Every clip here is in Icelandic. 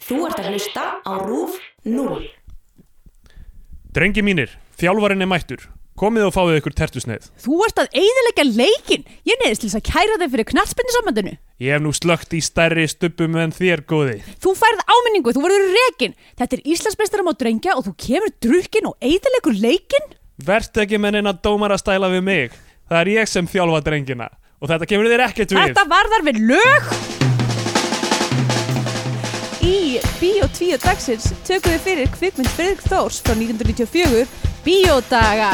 Þú ert að hlusta á RÚF 0. Drengi mínir, þjálfarinn er mættur. Komið og fáið ykkur tertusneið. Þú ert að eiðilegja leikin. Ég neyðist til þess að kæra þig fyrir knartspinnisambandinu. Ég hef nú slögt í stærri stubbum en þér, góði. Þú færð áminningu, þú verður rekin. Þetta er Íslandsmeistaram á drengja og þú kemur drukkin og eiðilegur leikin. Vert ekki með neina dómar að stæla við mig. Það er ég sem þjálfa drengina. Og þetta kemur þér ekkert við. Þetta varðar við lög. Í Bíó 2 dagsins tökum við fyrir kvikmynd Fredrik Þórs frá 1994 Bíódaga.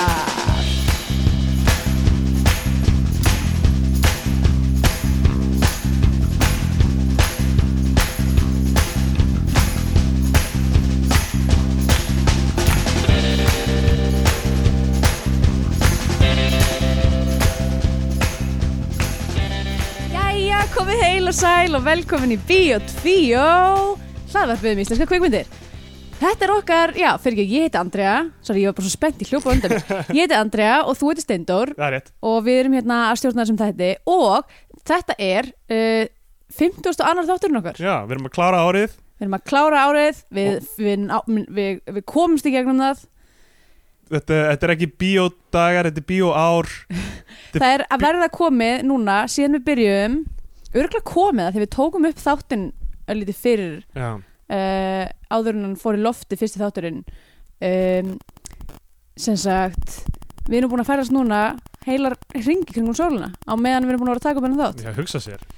Jæja, komið heil og sæl og velkomin í Bíó 2 hlaðvarpið um íslenska kvikmyndir. Þetta er okkar, já, fyrir ekki, ég heiti Andrea Sorry, ég var bara svo spennt í hljópa undan mér. Ég heiti Andrea og þú heiti Steindór Það er rétt. og við erum hérna að stjórna þessum þætti og þetta er uh, 50. annar þátturinn okkar Já, við erum að klára árið. við erum að klára árið við, við, á, við, við komumst í gegnum það Þetta, þetta er ekki bíódagar, þetta er bíóár. Þi- það er að verða komið núna síðan við byrjum örgulega komið að þegar við tókum upp þáttinn lítið fyrir Já. uh, áður en hann fór í lofti fyrsti þátturinn um, sem sagt við erum búin að færast núna heilar hringi kringum sóluna á meðan við erum búin að vera að taka upp hennar þátt Já, hugsa sér.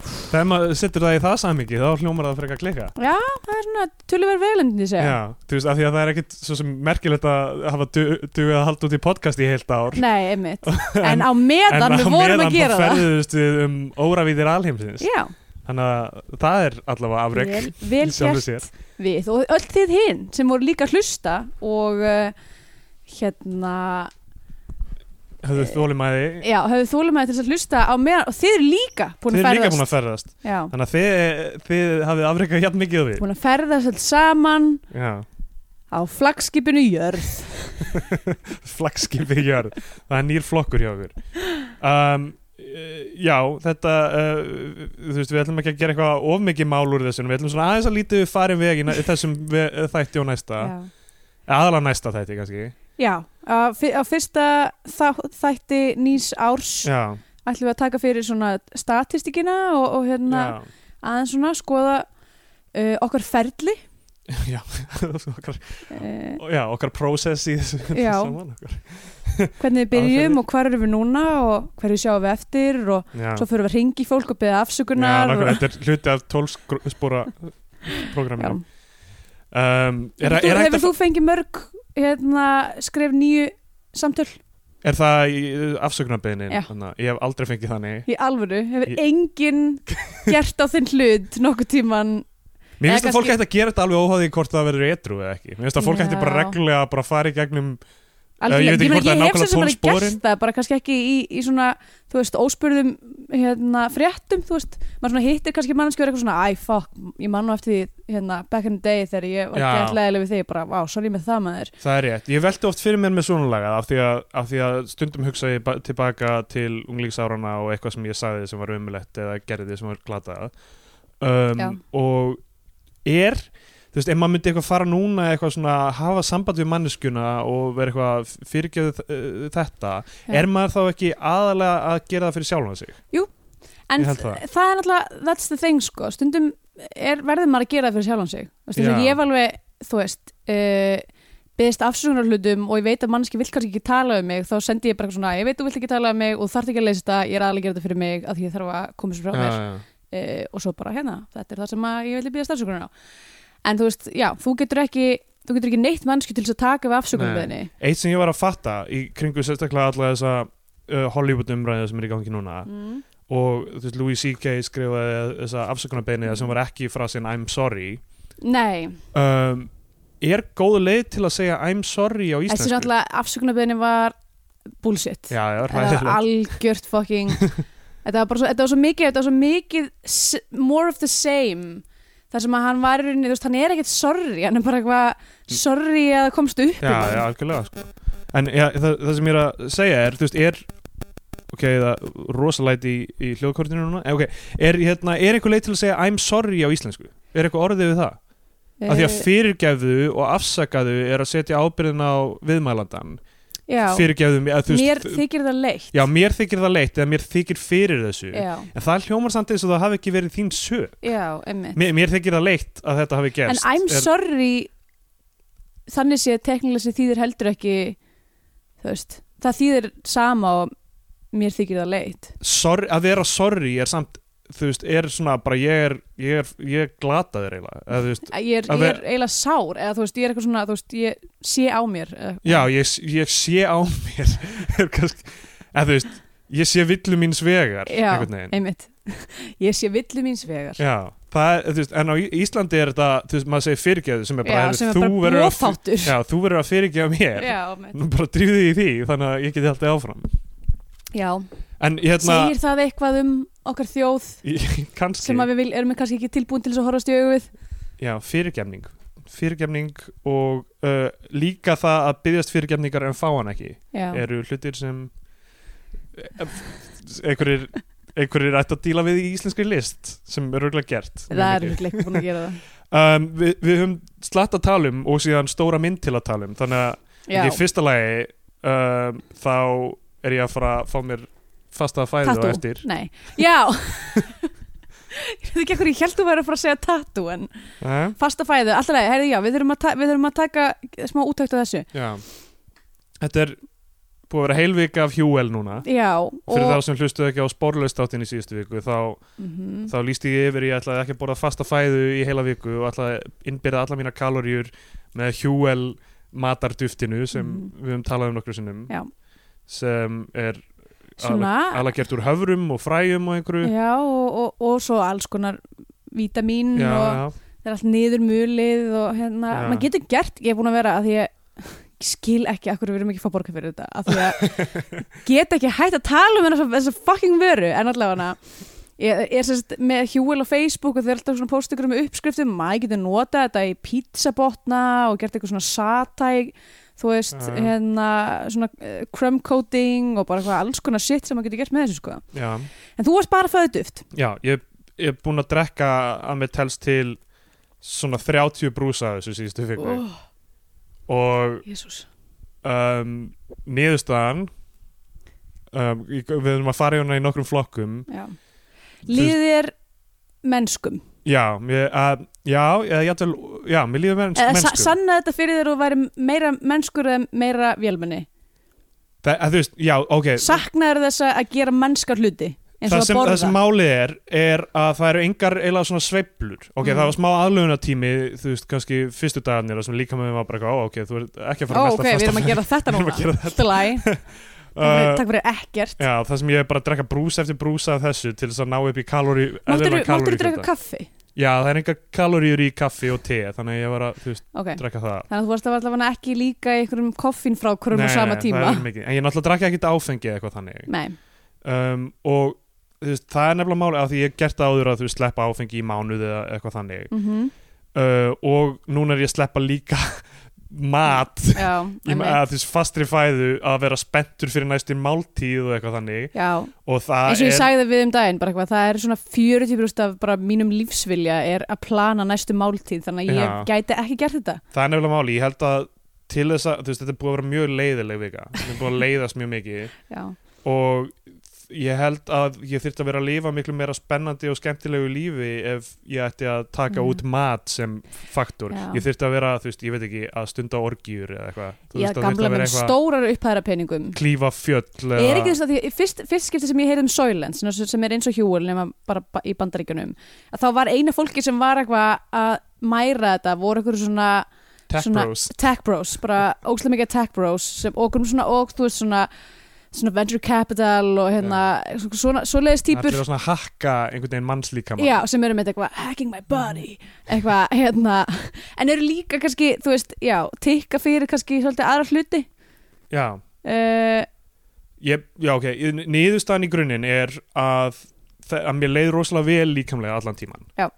Þegar maður setur það í það samingi, þá hljómar það frekar að klika. Já, það er svona töluverð veglendin í segja Já, þú veist, af því að það er ekkit svo sem merkilegt að hafa du- dugað að halda út í podcast í heilt ár. Nei, einmitt. En, á meðan Hérna, við vorum að gera En á meðan það. ferðuðust við um óravíðir alheimsins. Já, Þannig að það er allavega afreg. vel, vel í sjálfu gert við og öll þið hinn sem voru líka að hlusta og uh, hérna, Höfðu Eh, þólimæði. já, höfðu þólum til þess að hlusta á meðan og þið eru líka búin Þið að er líka ferðast. búin að ferðast. Já, Þannig að þið, þið hafið afregað jafn mikið á því. búin að ferðast alls saman Já, á flagskipinu jörð. flagskipi jörð. Það er nýr flokkur hjá okkur. Um, eh, já, þetta, uh, þú veist, við ætlum ekki að gera eitthvað of mikið mál úr þessu. en Við ætlum svona aðeins að lítið við farin veg í næ- þessum ve- þætti og næsta. Já. Aðalega næsta þætti kannski. Já, á, fyr- á fyrsta þá, þætti nýs árs Já, ætlum við að taka fyrir svona statistikina og, og hérna já. aðeins svona skoða uh, okkar ferli Já, okkar, uh, já, okkar prósess í þessu Já. saman okkar. hvernig við byrjum og hvar erum við núna og hverju sjáum við eftir og Já. svo fyrir við að ringi fólk og Já, beða afsökunar nákvæmlega, og, þetta er hluti af tólspóra já. programminu um, er, er, Hefur þú- er, Hefur þú fengið mörg hérna, skref nýju samtöl er það í afsökunarbeðinin? Já. Þannig að Ég hef aldrei fengið þannig í alvöru? Hefur Ég- enginn gert á þinn hlut nokkuð tíman? Mér finnst Eða að fólk kannski- ætti að gera þetta alveg óháði hvort það verður etru eða ekki Mér finnst að fólk Já. ætti bara reglulega að bara fara í gegnum Algjörlega. ég veit ekki meina, hvort það er hef nákvæmlega svo sem bara 12 sporin. gert það, bara kannski ekki í, í svona, þú veist, óspurðum hérna, fréttum, þú veist, maður svona hittir kannski mannskjöður eitthvað svona, æ, fuck, ég man nú eftir því, hérna, back in the day þegar ég var Já. gett leðileg við þig, bara, vá, sorry með það maður. Það er rétt, ég velti oft fyrir mér með svona laga af því að, af því að stundum hugsa ég ba- tilbaka til unglíksárana og eitthvað sem ég sagði sem var umulett eða gerði sem var glatað um, Já. og er þú veist, ef maður myndi eitthvað fara núna eitthvað svona, hafa samband við manneskuna og vera eitthvað fyrirgeðu uh, þetta, Já. er maður þá ekki aðalega að gera það fyrir sjálfan sig En Ég held það. það. er náttúrulega, that's the thing sko, stundum er, verður maður að gera það fyrir sjálfan sig. Þú veist, eins og Já. ég hef alveg, þú veist, uh, beðist afsökunar hlutum og ég veit að mannski vill kannski ekki tala um mig, þá sendi ég bara eitthvað svona, ég veit þú vilt ekki tala um mig og þú þarft ekki að leysa þetta, ég er aðalega að gera þetta fyrir mig að því ég þarf að koma sér frá mér já, uh, og svo bara hérna, þetta er það sem að ég vilja beðist afsökunar á. En þú veist, já, þú getur ekki, þú getur ekki neitt mannski til þess að taka við afsökunar Nei. Eitt sem ég var að fatta í kringu sérstaklega alla þessa uh, Hollywood umræða sem er í gangi núna Mm. og þú veist, Louis C.K. skrifaði þessa Mm. afsökunarbeiniða sem var ekki frá sinn I'm sorry Nei, um, er góð leið til að segja I'm sorry á þessi íslensku náttúrulega afsökunarbeiðni var bullshit. já, já, þetta var hræðilegt. algjört fucking þetta var bara svo, þetta var svo mikið þetta var svo mikið s- more of the same þar sem að hann var í rauninni, þú veist, hann er ekkert sorry hann er bara eitthvað sorry að það komst upp já, já, algjörlega sko. en já, það, það sem ég er að segja er þú veist, er ok, það er rosalæti í, í hljóðkortinu núna en, ok, er, hérna, er eitthvað leið til að segja I'm sorry á íslensku er eitthvað orðið við það Af því að Eh, fyrirgefðu og afsakaðu er að setja ábyrðin á viðmælandan já, Fyrirgefðu mér, þú mér veist þykir það leitt Já, mér þykir það leitt eða mér þykir fyrir þessu já, En það hljómar samt eins og það hafi ekki verið þín sök já einmitt Mér, mér þykir það leitt að þetta hafi en gerst I'm Er- sorry þannig sé teknilega sem þýðir heldur ekki þú veist, það þýðir sama og mér þykir það leitt sorry, að vera sorry er samt þú veist, er svona bara ég er ég er, ég er glataður eiginlega eða, þú veist, Að ég er, Að ég er ver- eiginlega sár eða þú veist, ég er eitthvað svona, þú veist, ég sé á mér eða- já, ég, ég sé á mér er kannski, eða þú veist ég sé villu míns vegar já, einhvern veginn. einmitt ég sé villu míns vegar já, það er, þú veist, en á Í- Íslandi er þetta, þú veist, maður segir fyrirgeðu sem er bara, Já, heyrðu, sem er þú bara verður að- blóðfátur. já, þú verður að fyrirgefa mér já, einmitt. Nú bara drífðu þig í því, þannig að ég geti alltaf áfram já. en hérna, segir það eitthvað um okkar þjóð ég- kannski sem að við vil, erum kannski ekki tilbúin til þess að horfast í augu við já, fyrirgefning fyrirgefning og uh, líka það að byggjast fyrirgefningar en fá hann ekki já, eru hlutir sem eh, einhverjir einhverjir ætti að díla við í íslenskri list sem er auðvitað gert mjög það er mikið. ekki búin að gera það um, við, við höfum slatt að tala um og síðan stóra mynd til að tala um þannig að í já, fyrsta lagi um, þá er ég að fara að fá mér fasta að fæðu á eftir nei, já ég veit ekki hvernig ég held þú væri að fara að segja tattu en uh, fasta fæðu, alltaf leið, herði já, við þurfum að, ta við þurfum að taka smá útökt á þessu já þetta er búið að vera heilvika af hjúel núna já, fyrir og þá sem hlustuðu ekki á sporlaustáttin í síðustu viku þá, Mhm. þá lísti ég yfir ég ætlaði ekki að borða fasta fæðu í heila viku og ætlaði að innbyrða alla mína kaloríur með hjúel matarduftinu sem Mhm. við höfum talað um nokkru sinnum Já. sem er svona alveg gert úr höfrum og fræjum og einhverju já, og, og, og svo alls konar vítamín Mm, já, og það er allt niður mulið og hérna, Já. maður getur gert, ég er búin að vera að því ég ég skil ekki akkur við erum ekki að fá borga fyrir þetta að því að ég get ekki hægt að tala um þessa, þessa fucking vöru en allavega hana ég ég er sérst með hjúil á Facebook og þeir eru alltaf svona posta ykkur með uppskriftum maður getur notað þetta í pizzabotna og gert eitthvað svona satæg þú veist, Já, já. hérna svona eh, crumb coating og bara eitthvað alls konar shit sem maður getur gert með þessu sko já, en þú varst bara föðuduft já ég, ég er búin að drekka að mér telst til svona 30 brúsa þessu síðustu viku Oh. og Jésús um, niðurstaðan um, í- við erum að fara í hana í nokkrum flokkum Líðir mennskum já, mér, að, já, eða jafnvel, já, mér líður menns, Eða sa- mennsku san... sanna þetta fyrir þér og væri meira mennskur eða meira vélmenni það, að, þú veist, já, ok saknaður þess að gera mennskar hluti eins það og að sem, það sem borða málið er, er að það eru engar eiginlega svona sveiflur ok, Mm. það var smá aðlöfunartími, þú veist, kannski fyrstu dagarnir, það sem líka með var bara eitthvað, "Ó, ok, þú ert ekki að ó fara að ok, við erum að gera þetta Við erum núna að gera allt í lagi, takk fyrir- uh, takk fyrir ekkert já, það sem ég er bara að drekka brúsa eftir brúsa af þessu til þess að ná upp í kalóri máttur eðlilegan þú kaloríufjölda. draka kaffi já, það er engar kalóriur í kaffi og te þannig að ég var að, þú veist, ok, drekka það þannig að þú varst að allavega ekki líka í einhverjum koffin frá hverjum á Nei, sama nei, tíma það er mikið. En ég náttúrulega drakk ekkert áfengi eða eitthvað þannig nei, um, Og þú veist, það er nefnilega máli af Því ég hef gert það áður að þú veist, sleppa áfengi í mánuð eða eitthvað þannig mhm, uh, Og núna er ég að sleppa líka mat já Ég einmitt. með að þú veist, fastri fæðu að vera spenntur fyrir næstu máltíð og eitthvað þannig já, Og það eins og ég er sagði við um daginn bara eitthvað, það er svona 40% af bara mínum lífsvilja er að plana næstu máltíð þannig að ég Já. gæti ekki gert þetta Það er nefnilega máli, ég held að til þess að, þú veist, þetta er búið að vera mjög leiðileg vika Þetta er búið að leiðast mjög mikið já, og ég held að ég þyrfti að vera að lifa miklu meira spennandi og skemmtilegu lífi ef ég ætti að taka Mhm. út mat sem faktor Já. ég þyrfti að vera, þú veist, ég veit ekki að stunda orgjur eða eitthvað Þú Já, veist, það þyrfti gamla að vera með eitthvað- stórar upphæðra peningum klífa fjöll Er ekki þess að því, fyrst, fyrst skipti sem ég heyrði um Soylent sem- sem er eins og hjúul nema bara ba- í bandaríkjunum að þá var eina fólki sem var eitthvað að mæra þetta voru eitthvað svona tech svona- bros tech bros, bara ógslum mikið tech bros sem okkur svona og þú veist svona svona venture capital og hérna svona, svoleiðis allir típur að svona hakka einhvern veginn mannslíkama Já, sem eru með þetta eitthvað hacking my body eitthvað, hérna, en eru líka kannski, þú veist, já, tikka fyrir kannski svolítið aðra hluti já, uh, ég, já ok, ég- niðurstaðan í grunninn er að, þe- að mér leið rosalega vel líkamlega allan tíman Já.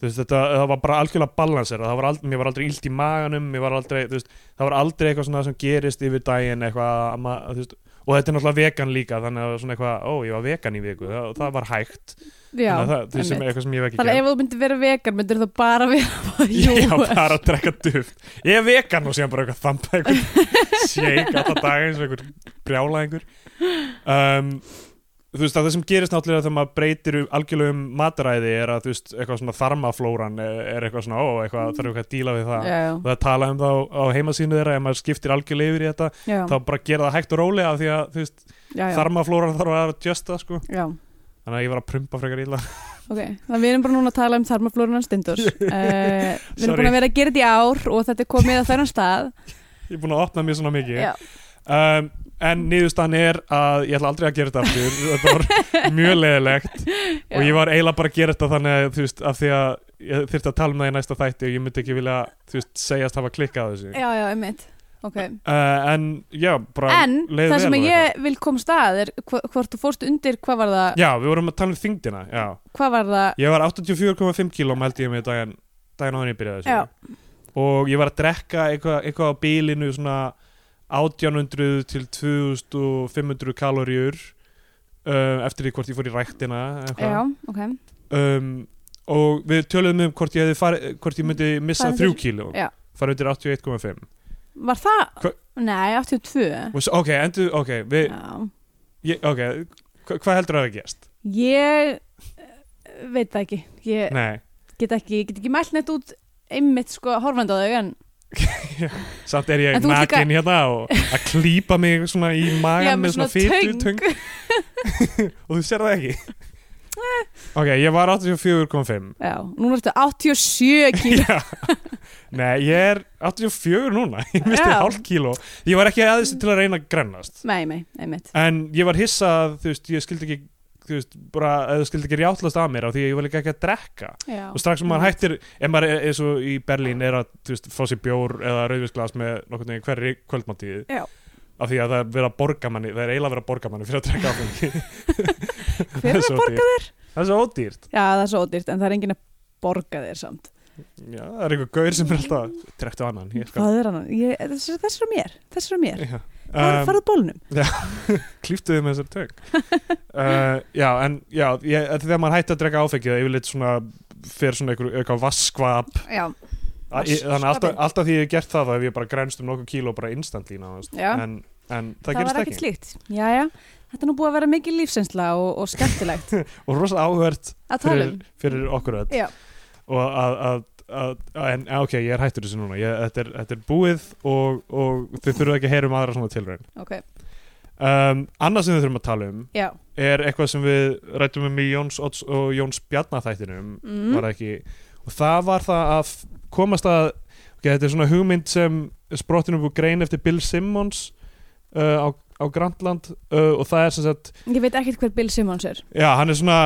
þú veist þetta, það var bara algjörlega balanser það var aldrei, mér var aldrei illt í maganum mér var aldrei, þú veist, það var aldrei eitthvað svona sem gerist yfir daginn eitthvað að ma- þú veist, og þetta er náttúrulega vegan líka þannig að það var svona eitthvað, ó ég var vegan í viku það, það var hægt já, þannig að það, það sem, einmitt. eitthvað sem ég hef ekki Þannig að ef þú myndir vera vegan myndir þú bara vera Jú, Já, bara að drekka duft Ég er vegan og síðan bara eitthvað þampa eitthvað shake alltaf daga eins og eitthvað brjála einhver um, Þú veist að það sem gerist náttúrulega þegar maður breytir um- algjörlega um mataræði er að þú veist eitthvað svona þarmaflóran er er eitthvað svona ó, eitthvað þarf eitthvað að díla við það já, og það tala um það á- á heimasínu þeirra ef maður skiptir algjörlega yfir í þetta já, þá bara gera það hægt og rólega af því að þú veist, já, já, þarmaflóran þarf að adjusta sko. já. þannig að ég var að prumpa frekar illa Ok, þannig að við erum bara núna að tala um þarmaflórunar stindur uh, Við erum Sorry. búin að vera að gera þetta í ár og þetta er komið að þennan stað ég er búin að opna mér svona mikið Já, um, en niðurstaðan er að ég ætla aldrei að gera þetta aftur þetta var mjög leðilegt já. og ég var eiginlega bara að gera þetta þannig að þú veist af því að ég þyrfti að tala með það í næsta þætti og ég myndi ekki vilja þú veist segjast hafa klikkað á þessu Já, já, einmitt Ok uh, en já bara En leið það vel sem og ég vil koma stað er hvo- hvort þú fórst undir, hvað var það, já við vorum að tala um þingdina já. hvað var það ég var 84,5 kílóm held ég með daginn daginn á þannig ég byrjaði þessu Já. og ég var að drekka eitthvað, eitthvað á bílinu svona 1800 til 2500 kaloríur uh, eftir því hvort ég fór í ræktina Já, eitthvað. ok, um, og við töluðum um hvort ég, hefði farið, hvort ég myndi missa Farið 3 kíló Já. fara undir 81,5 var það Hva- Nei, 82 Og s- ok, endur, ok, við, Já ég, ok hva- hvað heldur að það gerst? Ég eh, veit það ekki Ég Nei, get ekki, ég get ekki mælt neitt út einmitt sko horfandi á þau en samt er En ég þú ert líka- nakin hérna og að klípa mig svona í magan með svona fytu töng og þú sér það ekki Eh. ok, ég var 84,5 Já, núna ertu 87 kíl Já. nei, ég er 84 núna ég misti Já. hálf kíló ég var ekki aðeins til að reyna að grennast Nei, nei, einmitt en ég var hissað, þú veist, ég skildi ekki þú veist, bara, eða skildi ekki rjátlast að mér af því að ég var líka ekki að drekka Já, og strax sem maður hættir, ef maður er eins og í Berlín er að, þú veist, fá sér bjór eða rauðvísglas með nokkurn veginn hverri kvöldmáttíð Já. af því að það er verið að borga manni það er eiginlega verið að borga manni fyrir að drekka áfengi Hver er Það er að svo borga þér? það er svo ódýrt Já, það er svo ódýrt en það er enginn að borga þér samt Já, það er einhver gaur sem er alltaf Trektu annan, ég skal Hvað er hann? Ég, þessi, þessi er á mér, þessi er á mér Já. Far, Um, Farðu bólnum Klíftu þið með þessar tök uh, Já, en já, ég, að þegar maður hætti að drekka áfengi það yfirleitt svona fer svona einhver, eitthvað vaskvap Já, Að- ég- þannig að alltaf, alltaf því ég hef gert það þá hef ég bara grænst um nokkuð kíló bara instantlína Já. en, en það, það, gerist var ekki ekkert slíkt Jæja, þetta er nú búið að vera mikil lífsinsla og, og skemmtilegt og rosa áhvert að tala fyrir, um fyrir okkur öll Já. og að, að, að, að en að, ok, ég er hættur þessu núna ég, þetta, er, þetta er búið og, og þið þurfum ekki að heyra um aðra svona tilraun Ok, um, annað sem við þurfum að tala um já er eitthvað sem við rættum um í Jóns Odds og Jóns Bjarnaþættinum Mm. var það ekki, og það var það að komast að, ok, þetta er svona hugmynd sem sprottinu búið grein eftir Bill Simmons uh, á, á Grandland uh, og það er sem sagt Ég veit ekkert hver Bill Simmons er Já, hann er svona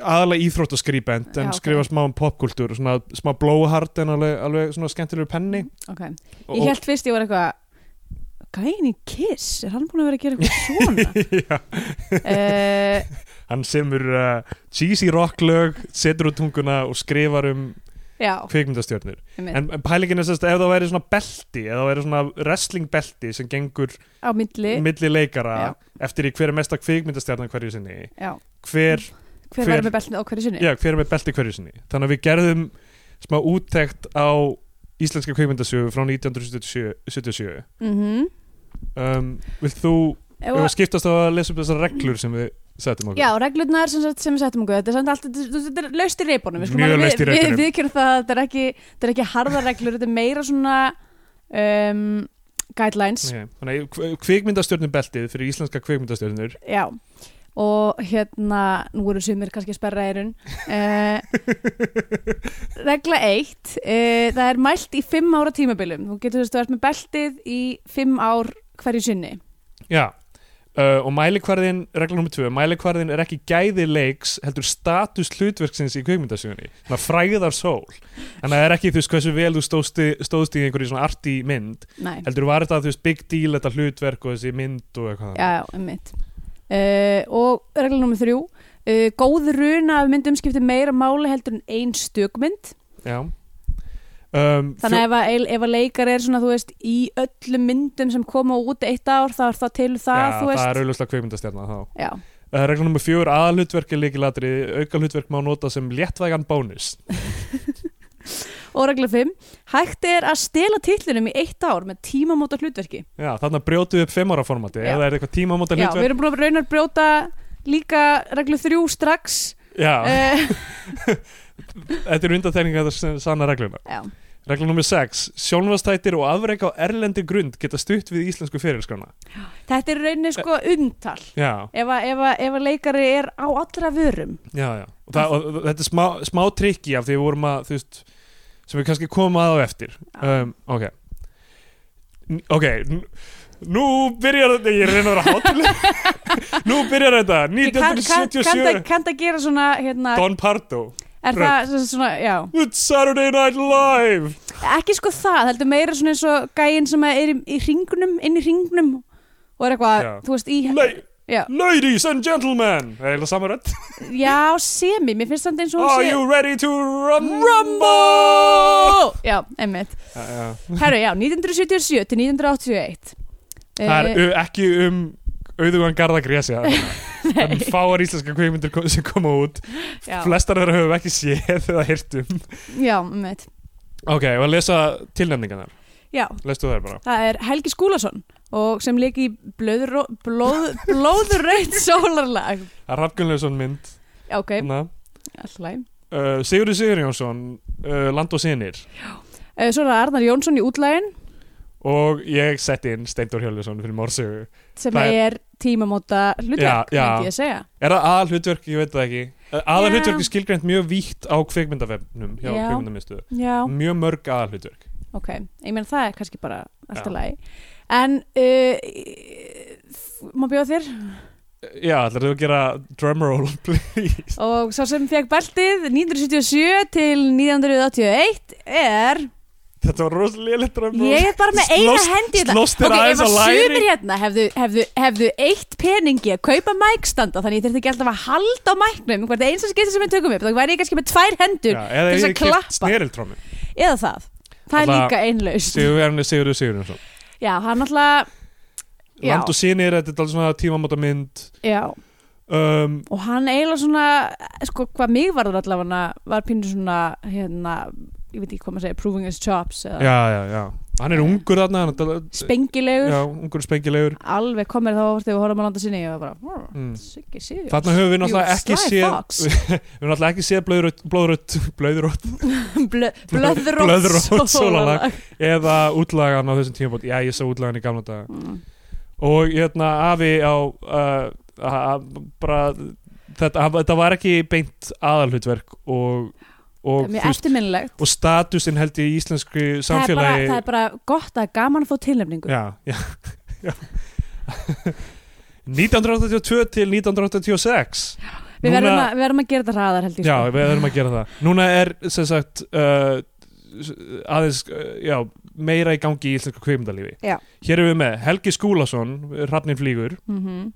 aðalega íþróttaskrýbent Já, en ok. skrifa smá um popkultúr, svona smá blowhard en alveg, alveg svona skemmtilegur penni Ok, Og- ég held fyrst ég var eitthvað Gæin í Kiss, er hann búin að vera að gera eitthvað svona? Já, uh, hann semur uh, cheesy rocklög, setur út tunguna og skrifar um já, kvikmyndastjörnur einmitt. en, en pælingin er sérst, ef það væri svona belti ef það væri svona wrestling belti sem gengur á milli milli leikara eftir í hver er mesta kvikmyndastjarnan hverju sinni já. hver, Hver, Hver- var með beltnið á hverju sinni? já, hver er með belti hverju sinni þannig að við gerðum smá úttekt á íslenska kvikmyndasjöfu frá 1977 Mm um, vilt þú, ef við skiptast á að lesa upp þessar reglur sem við settum okkur Já, reglurnar sem, sagt- sem við settum okkur, þetta er samt allt, þetta er- þetta er laust í reipunum. við skulum Mjög alveg- laust í Við, reipunum. við kjörum það, þetta er ekki, þetta er ekki harða reglur, þetta er meira svona um, guidelines. Ok, Þannig að kvikmyndastjörnum beltið fyrir íslenska kvikmyndastjörnur Já, og hérna, nú eru sumir kannski að sperra eirun. Uh, regla 1, uh, það er mælt í 5 ára tímabilum. Þú getur þess að þú ert með beltið í 5 ár hverju sinni. Já, uh, og mælikvarðin, regla nr. 2, mælikvarðin er ekki gæði leiks, heldur status hlutverksins í kvikmyndasögunni, þannig að fræðar sól. Þannig að það er ekki, þú veist, hversu vel þú stóðst, í- stóðst í einhverju svona arti mynd, Nei. heldur var þetta, þú veist, big deal, þetta hlutverk og þessi mynd og eitthvað. Já, já, einmitt uh, Og regla nummer þrjú uh, Góð runa af myndum skiptir meira máli heldur en ein stökmynd Já. um, Þannig að ef að, eil- ef að leikar er svona, þú veist, í öllum myndum sem koma út eitt ár, þá er það til um það, já, þú veist. það er auðvitað kveikmyndastjarna þá Já, Uh, regla nummer fjögur, aðalhutverk er líkilatri, aukalhutverk má nota sem léttvægan bónus. og regla 5. Hægt er að stela titlunum í eitt ár með tímamóta hlutverki. Já, þarna brjótu við upp fimm ára formati, Já. eða er eitthvað tímamóta Já, við hlutverk. erum búin að raunar brjóta líka reglu 3 strax. Já, Uh, þetta er undatækninga þetta s- sanna regluna. já, Regla nummer sex, sjónvastættir og afreik á erlendi grund geta stutt við íslensku fyrirskana. þetta er raunar sko undtal. Já, Ef að, ef, að, ef að leikari er á allra vörum. já, já. Og, það, og og þetta er smá, smá trikki af því við vorum að, þú veist, sem við kannski komum að á eftir. Um, ok. N- Ok, n- nú byrjar þetta, ég reyna að vera hátileg. nú byrjar þetta, Kann- kann- 1977. kann það- Kann það gera svona, hérna, Don Pardo er það sem sagt svona, já. It's Saturday Night Live ekki sko það, heldur meira svona eins og gæinn sem er í, í ringnum, inn í ringnum og er eitthvað, Já. þú veist, í Le já, Ladies and gentlemen Það er eiginlega sama rödd já, semi, mér finnst það eins og Are hún sé you ready to rumble? Ó, já, einmitt Já, já. herru, já, 1977 til 1981 Það er Eh, u- ekki um auðvugan garða grésja Það er fáar íslenska kveikmyndir kom- sem koma út já, Flestar þeirra höfum við ekki séð eða um. hirtum já, einmitt Ok, ég var að lesa tilnefningarnar já, Lestu þær bara það er Helgi Skúlason og sem leik í blöður, blóð, blóðurreitt sólarlag Rafgjörnlefsson mynd Já, ok, okay. alltaf uh, Sigurður Sigur Jónsson uh, Land og sinir Eh, Svo er það Arnar Jónsson í útlægin Og ég setti inn Steindór Hjörlefsson fyrir morsugu sem Það er tímamóta Já, hlutverk, já. myndi ég að segja Er það aðal hlutverk, ég veit það ekki Aðal Já. hlutverk er skilgrænt mjög vítt á kveikmyndavefnum hjá Já. kveikmyndamistuðu Já, Mjög mörg aðal hlutverk ok, ég meina það er kannski bara allt í Já. lagi En, uh, má bjóða þér Uh, Já, ætlar þú að gera drumroll, please Og sá sem fekk beltið 1977 til 1981 er Þetta var rosalega lélitt drumroll Ég er bara með eina Slóst- hendi hérna. slóst þér Ok, aðeins ef á læri? sumir hérna hefðu, hefðu, hefðu eitt peningi að kaupa mækstanda Þannig ég þurfti ekki alltaf að halda á mæknum Hvert eins og skipti sem við tökum upp Þá væri ég kannski með tvær hendur Já, til Eða þess að ég keft klappa. snerildrömmu Eða það Það er Alla- líka einlaust Sigurverðinu Sigurður Sigur Jónsson Já, hann alltaf Já, Land og sinir, þetta er alveg svona tímamóta mynd já um, og hann eiginlega svona sko hvað mig varður allavega var pínur svona hérna ég veit ekki hvað maður segja, proving his chops eða Já, já, já Hann er ungur þarna hann er dal- spengilegur, Já, ungur spengilegur alveg kom mér þá ofart þegar við horfum að landa sinni og ég var bara, "Hmm, Mm. siggi sigur Þarna höfum við náttúrulega ekki séð séð Við höfum náttúrulega ekki séð blöðrött Blöðrött Blöðrött blöðrótt Blöðrótt sólarlag. Eða útlagan á þessum tímabót Já, ég sá útlagan í gamla daga Mm. og hérna afi á uh, a- a- bara þetta, hann- þetta var ekki beint aðalhutverk og, og, mjög þú veist, eftirminnilegt og statusinn held ég í íslensku það er, bara, samfélagi það er bara gott að gaman að fá tilnefningu já, já, já. 1982 til 1986 við, verðum Núna- að, við verðum að gera þetta hraðar held ég já, sko. við erum að gera það núna er sem sagt uh, aðeins uh, já, meira í gangi í íslensku kveimdalífi Já. hér erum við með Helgi Skúlason Hrafnin Flýgur -hmm.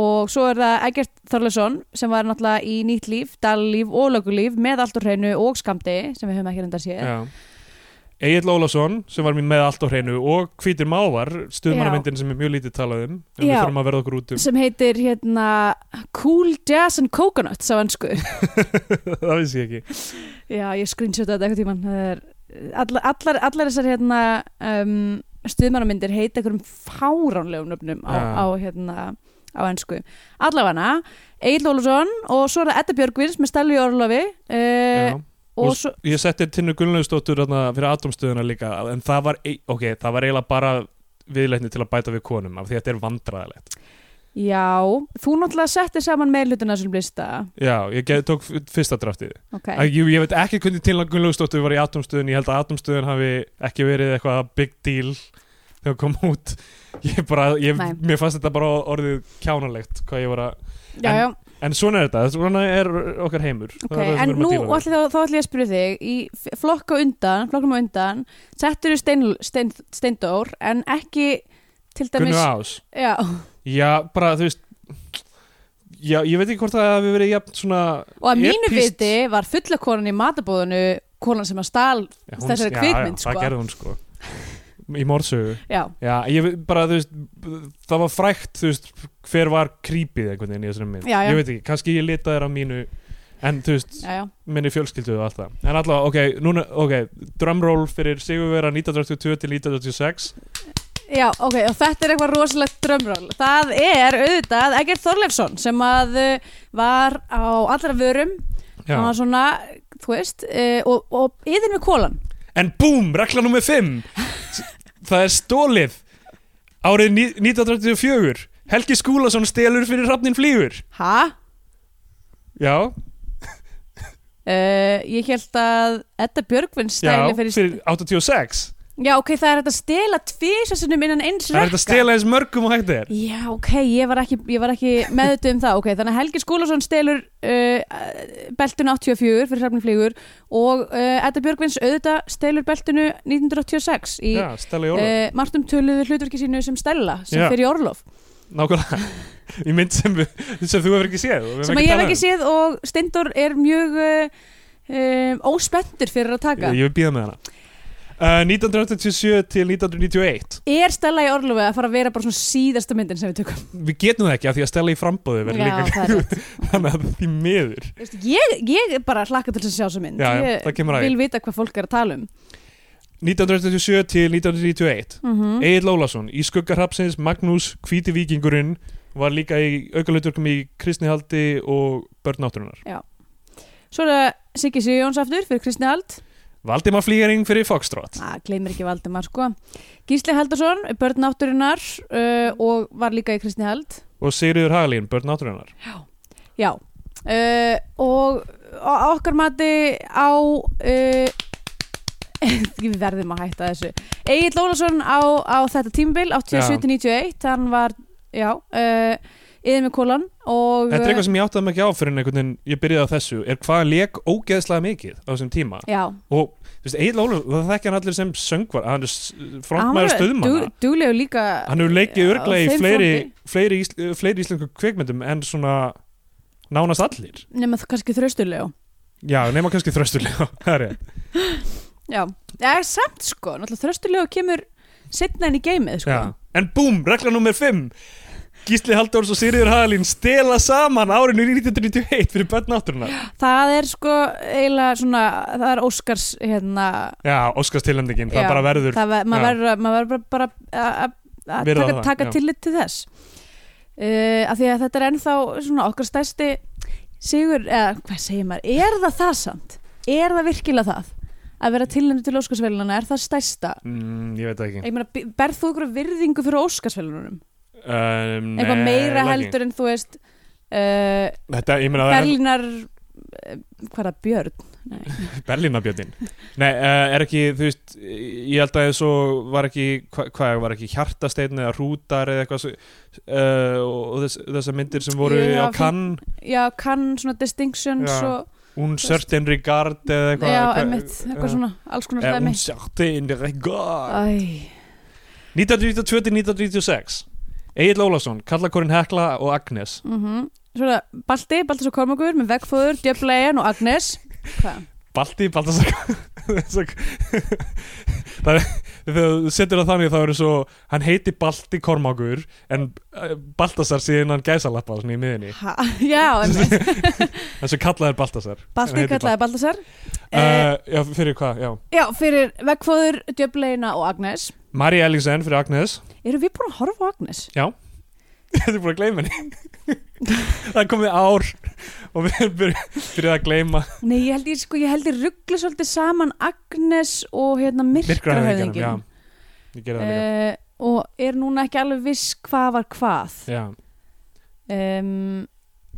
Og svo er það Egert Þorlesson sem var náttúrulega í nýtt líf, dallíf og lögulíf með allt úr hreinu og skamdi sem við höfum ekki reynda að sé. Já. Egil Ólafsson sem var mér með allt á hreinu og Hvítir Mávar, stuðmannamyndin sem er mjög lítið talað um en við Já. þurfum að verða okkur út um Sem heitir hérna Cool Jazz and Coconuts á ennsku. það vissi ég ekki Já, ég screenshota þetta eitthvað tíman. Það er, allar, allar, allar þessar hérna um, stuðmannamyndir heita einhverjum fáránlegum nöfnum á, Já. á hérna á ennsku. Allavega Egil Ólafsson og svo er það Edda Björgvins með Stelli Orlofi uh, Já. og Og svo ég setti Tinnu Gunnlaugustóttur þarna fyrir atomstöðuna líka en það var, ei- ok, það var eiginlega bara viðleitni til að bæta við konum af því að þetta er vandræðilegt Já, þú náttúrulega settir saman meðlutina sem blista já, ég get, tók f- fyrsta draftið okay. ég, ég veit ekki hvernig Tinnu Gunnlaugustóttur var í atomstöðun ég held að atomstöðun hafi ekki verið eitthvað big deal þegar kom út ég bara, ég, Nei. mér fannst þetta bara orðið kjánalegt hvað ég var að já, en- já, En svona er þetta, svona er okkar heimur ok En nú, ætli, þá, þá ætlum ég að spyrja þig í f- flokka undan, flokkum á undan settur þú stein, stein, steindór en ekki til dæmis Gunnu Ás Já, Já, bara þú veist Já, ég veit ekki hvort það hafi verið jafn svona og að mínu Epíst. viti var fullakonan í matabóðinu konan sem að stal Já, Þessari já, kvikmynd, já, sko. það gerði hún sko í morsugu já, já, ég veit bara, þú veist, það var frækt þú veist, hver var creepyð einhvern veginn í þessari mynd, Já, já. ég veit ekki, kannski ég lita þér á mínu en þú veist, já, já, minni fjölskyldu og allt það en allavega, ok, núna, ok, drumroll fyrir Sigurvera 1922 til 1926 já, ok og þetta er eitthvað rosalegt drömról það er auðvitað Egert Þorleifsson sem að uh, var á allra vörum já. hann var svona, þú veist uh, og, og yðin við kólan en búm, regla nummer 5 það er stólið árið ní- 1934 Helgi Skúlason stelur fyrir Hrafnin Flýgur ha? já, Uh, ég held að Edda Björgvins já, stæli fyrir, fyrir 86 Já, ok, það er hægt að stela tvísasunum innan eins Það er hægt að rekka. stela eins mörgum og hægt er Já, ok, ég var ekki, ég var ekki meðutu um það, ok, þannig að Helgi Skúlason stelur uh, beltun 84 fyrir hrafni flýgur og uh, Edda Björgvins auðvita stelur beltunu 1986 í uh, Já, stela í orða, Martum töluðu hlutverki sínu sem Stella, sem Já. fyrir Orlof nákvæmlega Í mynd sem, við, sem þú hefur ekki séð og við sem höfum að ég hef talað ekki um. séð og Steindor er mjög uh, um, óspenntur fyrir að taka Ég, ég vil býða með hana uh, 1987 til 1991 Er Stella í Orlofi að fara að vera bara svona síðasta myndin sem við tökum? Við getum það ekki af því að stela í frambóðu verður Já, líka það er rétt. Þannig að því miður Þú veist, Ég, ég er bara hlakka til þess að sjá þessa mynd Já, já, Ég það kemur að því. vil vita hvað fólk er að tala um 1987 til 1991 mm Egil Ólason, í skuggarhapsins Magnús Hvíti Víkingurinn var líka í aukalauturkum í Kristnihaldi og Börn Náttúrunar Svo er það Siggi Sigjóns aftur fyrir Kristi Hald Valdimar Flýgering fyrir Foxtrot Það gleymir ekki Valdimar sko Gísli Haldarsson, börn nátturinnar uh, og var líka í Kristi Hald og Sigriður Hagalín, Börn Náttúrunar Já uh, og á- á okkar mati á uh, við verðum að hætta þessu Egil Lólasson á, á þetta tímbil 87-91, hann var já, uh, yður með kólan og Þetta er eitthvað sem ég áttaði mig ekki á fyrir en einhvern veginn ég byrjaði á þessu er hvað hann leik ógeðslega mikið á þessum tíma eh, já, og þú veist, Egil Ólafsson, það þekkja hann allir sem söngvar hann er s- var frontmaður stuðmanna dug- duglegur líka eh, hann hefur leikið á örglega í þeim fleiri, fronti. fleiri, ísl, fleiri íslensku kveikmyndum en svona nánast allir nema það kannski þraustulegu Já, nema kannski þröstulega Það er rétt. Já, það er samt sko Náttúrulega þröstulegu kemur setna inn í geimið sko. Já. En búm, regla nummer 5 Gísli Halldórs og Sigriður Hagalín stela saman árinu 1991 fyrir börn náttúrunar Það er sko eiginlega svona það er Óskars hérna Já, Óskars tilhendingin, það já, bara verður það ver, maður, já. verður, að- maður verður bara, bara að- að- að Virða taka, það, taka já. tillit til þess uh, af því að þetta er ennþá svona okkar stærsti sigur, eða hvað segir maður er það það samt? Er það virkilega það? Að vera tilhendur til Óskarsveilunana er það stærsta? mm, Ég veit það ekki Ég meina, b- berð þú ykkur virðingu fyrir Óskarsveilunum? um, Eitthvað nei, meira eiginlega ekki. heldur en þú veist uh, Þetta, ég meina, Berlín. Berlínar eh, hvað er það, Björn? Berlínabjöndin Nei, uh, er ekki, þú veist Ég held að þessu var ekki hva- Hvað var ekki, hjartasteinn eða hrútar Eða eitthvað svo uh, Og þess, þessar myndir sem voru Jú, já, á kann Já, kann svona distinctions Já, og Un certain regard Eða eitthvað já, eitthvað- einmitt, eitthvað svona alls konar Eh, stæmi Un certain regard Æ, 1922-1926 Egil Ólafsson, Kallakorinn Hekla og Agnes mm Svona, Balti, Baltas og Kormakur með vegfóður, Djöflegin og Agnes Hvað? Balti, Baltasar það, er- Þegar þú setur það þannig þá eru svo Hann heiti Balti Kormákur En eh, Baltasar síðan hann gæsalappa Svona í miðinni Ha? Já, einmitt, Þessu kallaður Baltasar Hann Balti heitir kallaði Baltasar uh, Bal- Eh, Já, fyrir hvað, já Já, fyrir vegfóður, Djöflegina og Agnes María Ellingsen fyrir Agnes Eru við búin að horfa á Agnes? Þetta er búin að gleyma henni Það er komið ár Og við erum byrjuð- byrjuð að gleyma Nei, ég held ég, sko, ég held ég ruggla svolítið saman Agnes og hérna Myrkrahöfðingjum, myrkrahöfðingin já Ég gerði það líka uh, og er núna ekki alveg viss hvað var hvað Já um,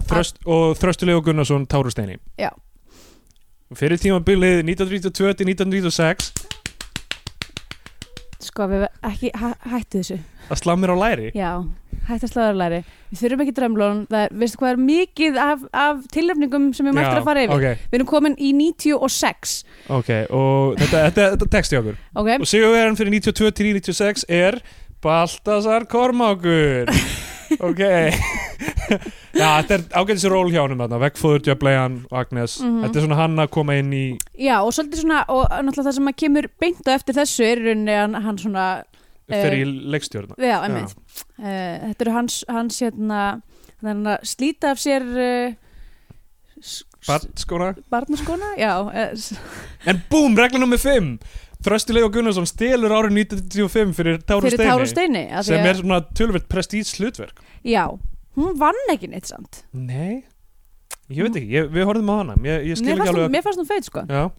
Þröst, og Þröstulegu Gunnarsson Tárusteini Já. Fyrir tímabilið 1992-1996 sko við ekki hæ, hættu þessu að slá mér á læri já, hættu að sláðarlæri við þurfum ekki drömlón, það er, veistu hvað er mikið af, af tilöfningum sem við mættum að fara yfir okay, við erum komin í 96 ok, og þetta, þetta, þetta texti okkur ok, Og sigurverðan fyrir 92-96 er Baltasar Kormákur Ok Já, þetta er ágætis ról hjá honum þarna Vegfóður, Djöblegan og Agnes Mhm. Þetta er svona hann að koma inn í Já, og svolítið svona, og náttúrulega það sem að kemur beint á eftir þessu er í rauninni hann, hann svona, Eh. fyrir í leikstjórna já, emið, uh, þetta eru hans, hans hérna, þannig að slíta af sér uh, Batskóna barnaskona, já, eh, s- En búm, regla nummer 5 Þröstileg og Gunnarsson stelur árið 1925 fyrir Táru fyrir Steini Táru Steini, af því sem að- er svona tölvöld prestíts hlutverk já, hún vann ekki neitt samt, Nei, ég veit ekki, ég, við horfðum á hana Ég, ég skil mér ekki fannst, hún, alveg mér fannst hún feit sko, að Já,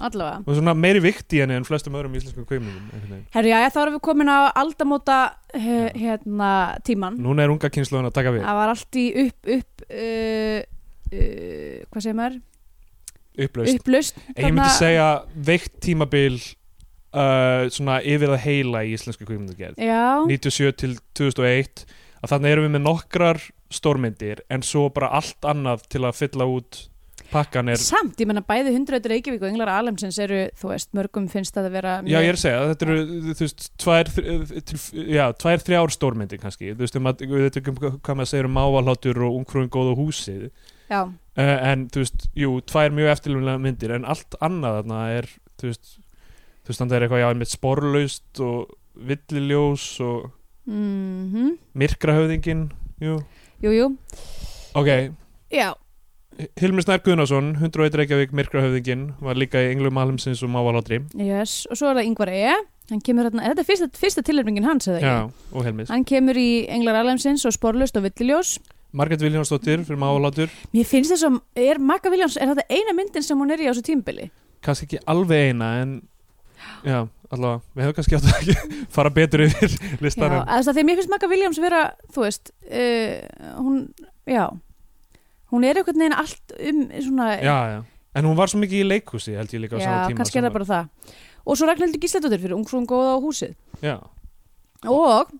allavega. og svona meiri vikt í henni en flestum öðrum íslenskum kveimlingum Herru, já, þá erum við komin á aldamóta he, hérna tíman. Núna er unga kynsluðan að taka við Það var allt í upp, upp, uh, uh, hvað segir maður? upplaust Upplaust. En ég myndi Ah, þarna- segja veikt tímabil uh, svona yfir að heila í íslensku kveimlingagerð Já, 97 til 2001 að þannig erum við með nokkrar stórmyndir en svo bara allt annað til að fylla út pakkan er samt, ég menna bæði 100 Reykjavík og Englar Alemsins eru, þú veist, mörgum finnst það að vera Já, ég er að segja, þetta eru, þú veist, tvær, þr- eh, til, já, tvær þrjár stórmyndir kannski, þú veist, um að, við veitum ekki um hvað maður segir um mávalhátur og ungfrúin góð og húsið, Já, uh, en, þú veist, jú, tvær mjög eftirlulega myndir, en allt annað þarna er, þú veist, þú veist, þannig er eitthvað, já, einmitt sporlaust og villiljós og mhm, myrkrahöfðingin, jú, jú, jú ok, Já, Hilmir Snær Guðnason, 101 Reykjavík, myrkrahöfðinginn, var líka í Englum Alheimsins og Mávalátri. yes, og svo er það Yngvar E Hann kemur hérna, þetta er fyrsta, fyrsta tilhörningin hans, eða Já, ekki? og Helmis. Hann kemur í Englar Alemsins og Sporlaust og Villiljós Margrét Viljónsdóttir fyrir Mávalátur, Mér finnst þess að, er Magga Viljáns, er þetta eina myndin sem hún er í á þessu tímbili? kannski ekki alveg eina, en já, allavega, við hefum kannski átt að ekki fara betur yfir Já, listanum. að því að mér finnst Magga Williams vera, þú veist, uh, hún, já, hún er einhvern veginn allt um svona, Já, já, En hún var svo mikið í leikhúsi, held ég líka á já, sama tíma. kannski er það bara það. Og svo Ragnhildur Gísladóttir fyrir Ungfrún góða á húsið. Já, Og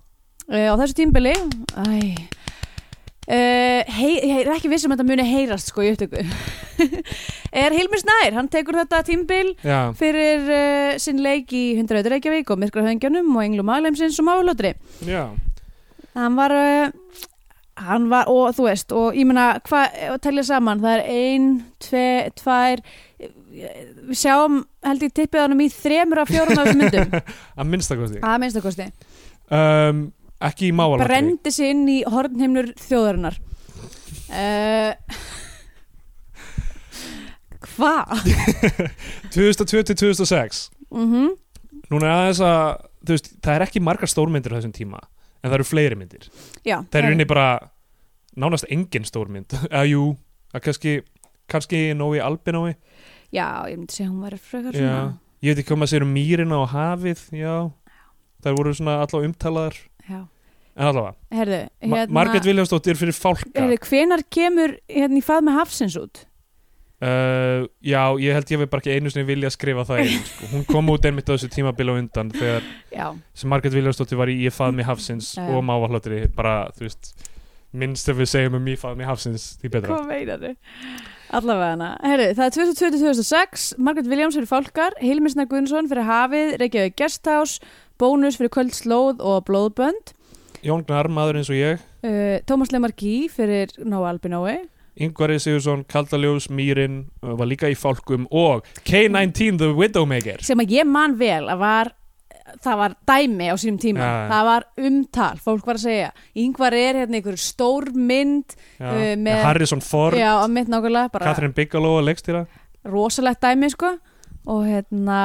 uh, á þessu tímbili, æ, Uh, hei, ég er ekki vissum að þetta muni heyrast sko í upptöku er Hilmir Snær, hann tekur þetta tímbil já, fyrir uh, sinn leik í 100 Reykjavík og Myrkrahöðingjanum og Englum Aðleimsins og Máflótri já. hann var uh, hann var, og þú veist og ég meina, hvað, ef að telja saman það er ein, tve, tvær eh, við sjáum held ég tippið honum í þremur af fjórum af þessum myndum Ah. Að minnstakosti. að minnstakosti, Um, ekki í Mávalátri. brendi sig inn í hornheimnur þjóðarinnar uh, hvað? 2020-2006. Mm -hmm. Núna er aðeins að, þú veist, það er ekki margar stórmyndir á þessum tíma, en það eru fleiri myndir. já, það er í rauninni bara nánast engin stórmynd eða jú, að kannski kannski Nói Albinói já, ég myndi segja að hún var frekar svona Já. ég veit ekki hvað maður segir um mýrina og hafið já, það voru svona allavega umtalaðar já, en allavega, herðu, Ma hérna Margrét Viljámsdóttir fyrir fálka herðu, hvenar kemur hérna í fað með hafsins út? uh, já, ég held ég við bara ekki einu sinni vilja skrifa það einn, sko. hún kom út einmitt á þessu tímabil á undan þegar já, sem Margrét Viljámsdóttir var í Ég fað mig hafsins Já. og mávallatri, bara, þú veist minnst ef við segjum um Ég fað mig hafsins því betra, Hvað meinar þau? Allavega hana. Herru, það er 2020-2006, Margaret Williams fyrir fólkar, Hilmir Snær Guðnsson fyrir hafið, Reykjavík Gesthaus, Bónus fyrir kvöld slóð og blóðbönd, Jón Gnar, maður eins og ég uh, Tómas Lemar Gí fyrir Nóa Albinói, Yngvarri Sigursson, Kaldaljós, Mýrin uh, var líka í fálkum og K-19 The Widowmaker sem að ég man vel að var, það var dæmi á sínum tíma, Já, já. það var umtal, fólk var að segja, yngvar er hérna einhver stór mynd, Já, Uh, með- Harrison Ford, já, að mitt nákvæmlega, bara Catherine Bigelow að leikstýra rosalegt dæmi sko og hérna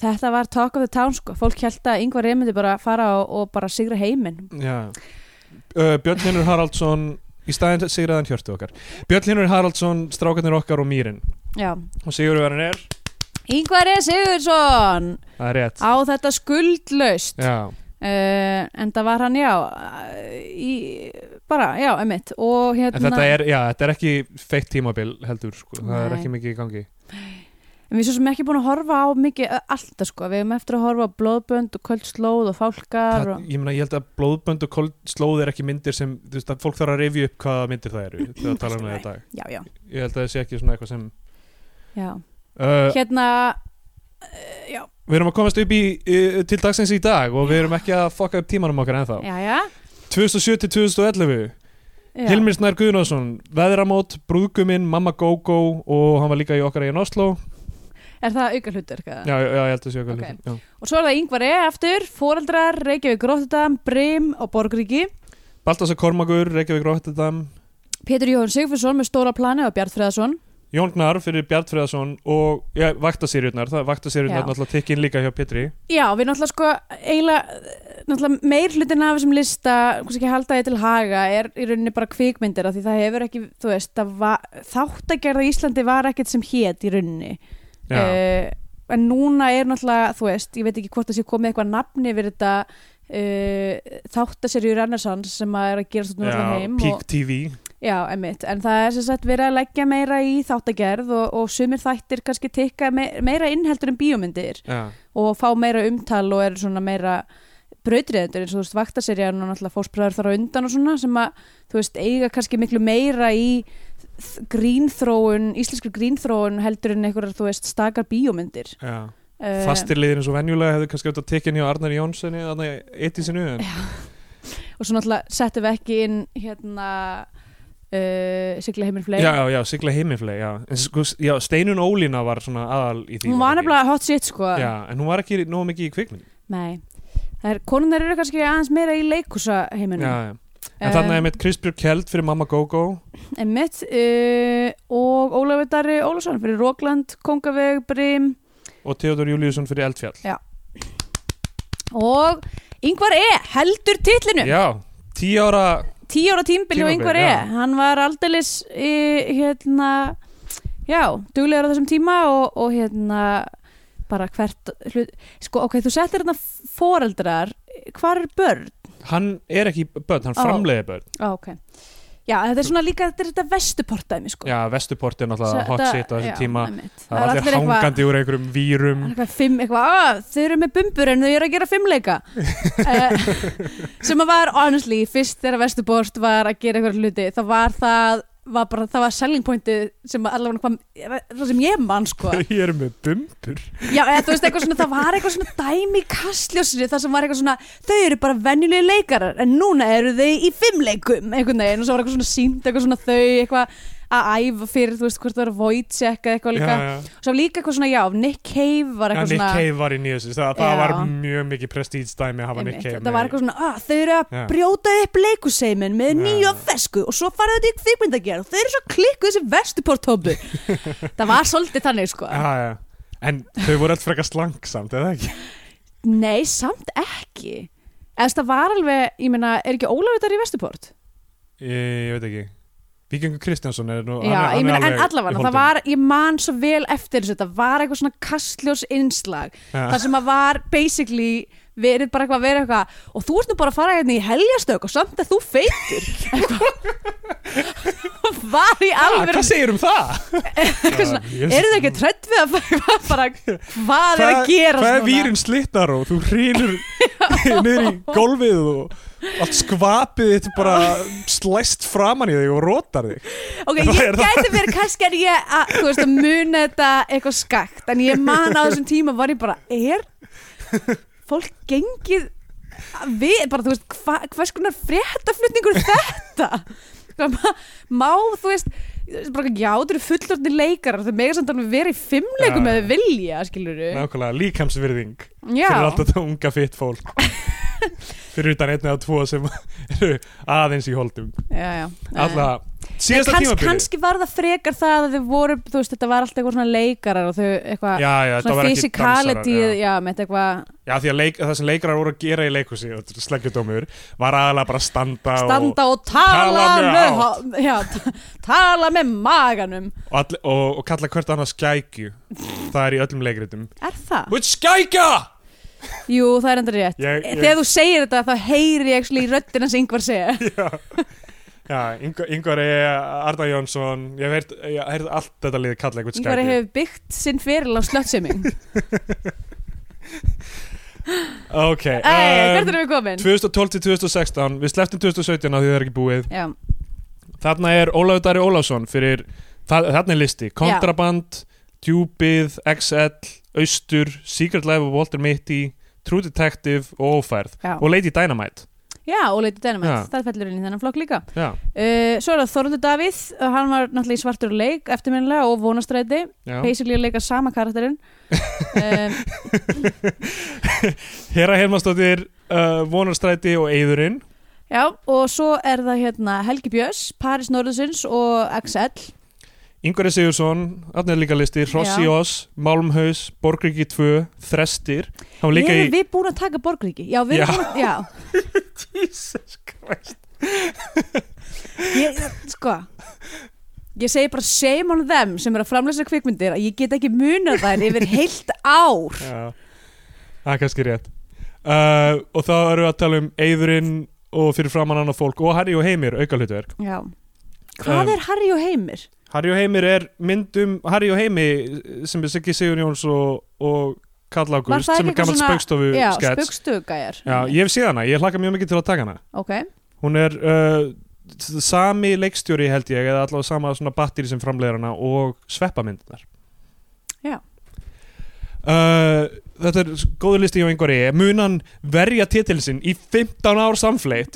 þetta var talk of the town sko, fólk held að yngvar reymundi bara fara og, og bara sigra heiminn Já. uh, Björn Hinnur Haraldsson í staðin sigraðan hjörtu okkar Björn Hinnur Haraldsson, Strákarnir okkar og Mýrin já, og Sigurverðan er, yngvar er E. Sigurðsson það er rétt á þetta skuldlaust uh, Já, en það var hann já í, bara, já, emitt og en hérna, þetta er, já, þetta er ekki feitt tímabil heldur, sko. það er Nei. ekki mikið í gangi en við svo sem ekki búin að horfa á mikið ö, allt það sko, við hefum eftir að horfa á blóðbönd og kvöldsslóð og fálkar það, og, Ég meina, ég held að blóðbönd og kold slóð er ekki myndir sem, þú veist að fólk þarf að revja upp hvaða myndir það eru þegar að tala um það í dag já, já, Ég held að það sé ekki svona eitthvað sem já Uh, hérna, við erum að komast upp í, uh, til dagsins í dag og við erum ekki að fokka upp tímanum okkar ennþá já, já 2007 til 2011 Já. Hilmir Snær Guðnason, Veðramót, Brúðguminn, Mamma Gógó og hann var líka í okkar eigin Oslo Er það auka hlutur? Já, já, já, ég held að sé okkar Ok. okay. Og svo er það yngvar E aftur, foreldrar, Reykjavík Gróttudam, Brim og Borgríki. Baltasar Kormagur, Reykjavík Róttidam Pétur Jóhann Sigfússon með stóra plani og Bjart Freðarsson. Jón Gnar fyrir Bjartfriðarsson og já, Vaktasýrjurnar, það er Vaktasýrjurnar Já. náttúrulega tikkin líka hjá Pétri Já, við náttúrulega sko eiginlega, eh, náttúrulega meir hlutin af þessum lista, hvers ekki halda ég til haga, er í rauninni bara kvikmyndir af því það hefur ekki, þú veist, það var, þáttagerða í Íslandi var ekkert sem hét í rauninni. Já, uh, en núna er náttúrulega þú veist, ég veit ekki hvort það sé komið eitthvað nafni yfir þetta uh, þáttaserju Renaissance sem að er að gera stundum alltaf heim Peak og, TV já, emitt, en það er sem sagt verið að leggja meira í þáttagerð og, og sumir þættir kannski tikka me meira innheldur en bíómyndir já. og fá meira umtal og eru svona meira brautriðendur eins og þú veist vaktaserjan og náttúrulega fórspraður þar á undan og svona sem að þú veist eiga kannski miklu meira í þ- grínþróun, íslenskur grínþróun heldur en einhverjar þú veist stakar bíómyndir Já. Eh, Fastir liðin eins og venjulega hefðu kannski átt að tikkin hjá Arnar Jónssoni þannig eitt í sinu en, og svo náttúrulega settum við ekki inn hérna uh, sigla heiminn fleiri Já, já, já, sigla heimifleg já. En, sko, s- já, Steinun Ólína var svona aðal í því hún var ekki? nefnilega hot shit sko Já, en hún var ekki nóg mikið í kvikmynd nei Það er, konunar eru kannski aðeins meira í leikúsa heiminu. já, já. En Eh. þannig er mitt Krispjörg Kjeld fyrir Mamma Gógó Emmett uh, og Ólafur Darri Ólafsson fyrir Rókland, Kongaveg, Brim og Theodor Júliusson fyrir Eldfjall og Yngvar E. heldur titlinu. Já, tíu ára Tíu ára tímbil hjá Tímabil, Yngvar E. já. Hann var aldeilis í, hérna, já, duglegur á þessum tíma og, og hérna bara hvert hlut, sko ok, þú settir hérna foreldrar, hvar er börn? Hann er ekki börn, hann Ó. framleiði börn Á, ok. Já, þetta er svona líka, þetta er þetta vestuportæmi sko. Já, Vesturport er náttúrulega hot Þetta- shit á já, þessum tíma einmitt. Það var allir eitthvað- hangandi úr einhverjum vírum Það er eitthvað fimm, eitthvað, að þau eru með bumbur en þau eru að gera fimmleika uh, sem að var honestly fyrst þegar Vesturbort var að gera eitthvað hluti þá var það, var bara, það var selling pointið sem að allavega kom, það sem ég mann sko Ég er með bumbur Já, eða, þú veist eitthvað svona, það var eitthvað svona dæmi í kastljósinu, það sem var eitthvað svona þau eru bara venjulegi leikarar en núna eru þau í fimmleikum einhvern veginn og svo var eitthvað svona sínt, eitthvað svona þau eitthvað að æfa fyrir, þú veist hvort það var void check eða já, eitthvað líka já. svo líka eitthvað svona, já, Nick Cave var Já, eitthvað Nick svona Cave var í nýjus það, það Já. var mjög mikið prestíðstæmi að hafa Nick Einmitt, Cave þetta var eitthvað svona, að þau eru að Já. brjóta upp leikuseimin með Já. nýju fesku og svo farið þetta í kvikmyndagerð og þau eru svo klikkuð þessi vestuportópu það var svolítið þannig sko já, já. En þau voru alltaf frekar slank samt, eða ekki? nei, samt ekki eða það var alveg, ég meina, er ekki Ólafur þar í vestuport? Ég, ég veit ekki Víkingur Kristjánsson er nú hann, er- Já, ég hann meina, er en alveg allavega, í það holdum. var, ég man svo vel eftir þessu, það var eitthvað svona kastljós innslag Já. það sem að var basically verið bara eitthvað að vera eitthvað og þú ert nú bara að fara hérna í heljastök og samt að þú feitur Eitthvað. var í Ah, alveg Hvað segir um það? svona, eru þau ekki trött við að fara bara, hvað er Hvað að gera hvað er vírin slittar og þú hrýnur niður í gólfið og allt skvapið þitt bara slæst framan í þig og rótar þig ok, Hvað ég er það? gæti verið kannski að ég að, þú veist, að muna þetta eitthvað skakt, en ég man á þessum tíma var ég bara, er fólk gengið að við, bara þú veist, hva, hvers konar fréttaflutningur er þetta Hvað ma- má, þú veist þú veist, bara, já, þú eru fullorðni leikarar þau mega samt alveg verið í fimmleikum Já. eða vilja, skilur já, nákvæmlega líkamsvirðing fyrir alltaf þetta unga fitt fólk fyrir utan einn eða tvo sem eru aðeins í holdum já, já. alla Eh. En síðasta kanns, tímabili kannski var það frekar það að þau voru, þú veist, þetta var alltaf eitthvað svona leikarar og þau eitthvað já, já, þetta svona var ekki dansarar physicality, já. já, með eitthvað já, því að leik, það sem leikarar voru að gera í leikhúsi og sleggjudómur var aðalega bara að standa, standa og tala Tala mjög með, hátt. ha- já, t- tala með maganum og, og, all, og, og kalla hvert annað skækju það er í öllum leikritum Er það? Which skækja! Jú, það er enda rétt Ég- ég- Eh, Þegar þú segir þetta þá heyri ég actually í röddina sem yngvar segja Já, Ingvar- Ingvar E. Arda Jónsson Ég hef heyrt- ég hef heyrt allt þetta liði kalla eitthvað Yngvar skækju hefur byggt sinn feril á slöttseming Ok Æ, um, hvert erum við komin? 2012 til 2016 Við sleftum 2017 af því það er ekki búið Já, Þarna er Ólafur Dari Ólafsson fyrir það, Þarna er listi Kontraband, Djúbið, XL Austur, Secret Life of Walter Mitty True Detective og Ófærð Já. Og Lady Dynamite Já, og Lady Dynamite, Já. það fellur inn í þennan flokk líka já, uh, Svo er það Þorundur Davíð, uh, hann var náttúrulega í svartur leik eftirminnilega og vonastræti já. Paisley er leika sama karakterinn um, Hera Helmastóttir, uh, Vonarstræti og Eyðurinn Já, og svo er það hérna Helgi Björns, Paris Norðursins og XL Ingvar Sigursson, Arnir Líkalistir, Rossi Já. Oss, Málmhaus, Borgríki 2, Þrestir Hann var líka Erum í við búin að taka Borgríki? Já, við Já. erum búin að, já Jesus Christ ég, sko ég segi bara shame on them sem er að framleysa kvikmyndir að ég get ekki munað þær yfir heilt ár Já, það er kannski rétt uh, Og þá erum við að tala um Eyðurinn og fyrir framann annað fólk og Harry og Heimir, auka hlutverk já hvað Um, er Harry og Heimir? Harry og Heimir er myndum Harry og Heimi sem er Siggi Sigur Jóns og, og Karl Var Ágúst það sem ekki er gammal eitthvað spaukstofu já, skets spugstugæjar Já, ég hef síðan hana, ég hlakka mjög mikið til að taka hana ok, Hún er uh, s- sami leikstjóri held ég eða allavega sama svona batteri sem framleiðir hana og sveppamyndunar Já. Uh, þetta er s- góður listi hjá einhverji mun hann verja titilsinn í 15 ár samfleitt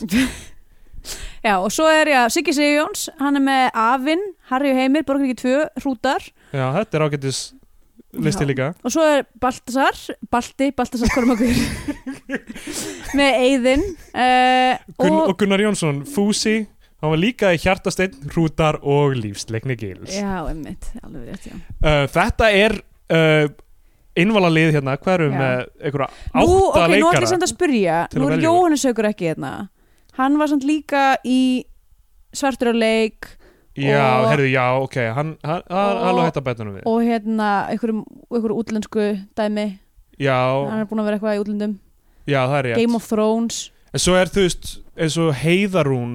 já og svo er já Siggi Sigjóns, hann er með Afinn Harry og Heimir, Borgríki 2, Hrútar Já, þetta er ágætis listi Já. líka og svo er Baltasar Balti, Baltasar Kormakur með Eyðin uh, Gun og, Gunnar Jónsson, Fúsi hann var líka í hjartasteinn, hrútar og lífsleikni gils já, emmitt, alveg rétt já. uh, þetta er uh, innvalalið hérna, hvað erum Já. við með einhverja átta Nú, ok, nú ætlum leikara ég samt að spyrja til Nú að er velja úr. Jóhannes haukur ekki hérna Hann var samt líka í svartur á leik já, og- herðu, já, ok hann, hann, hann, og- hann hægt að bæta hann við og hérna einhverjum, einhverjum útlensku dæmi já, Hann er búin að vera eitthvað í útlendum já, það er Game rétt of Thrones en svo er þú veist, eins og Heiðarún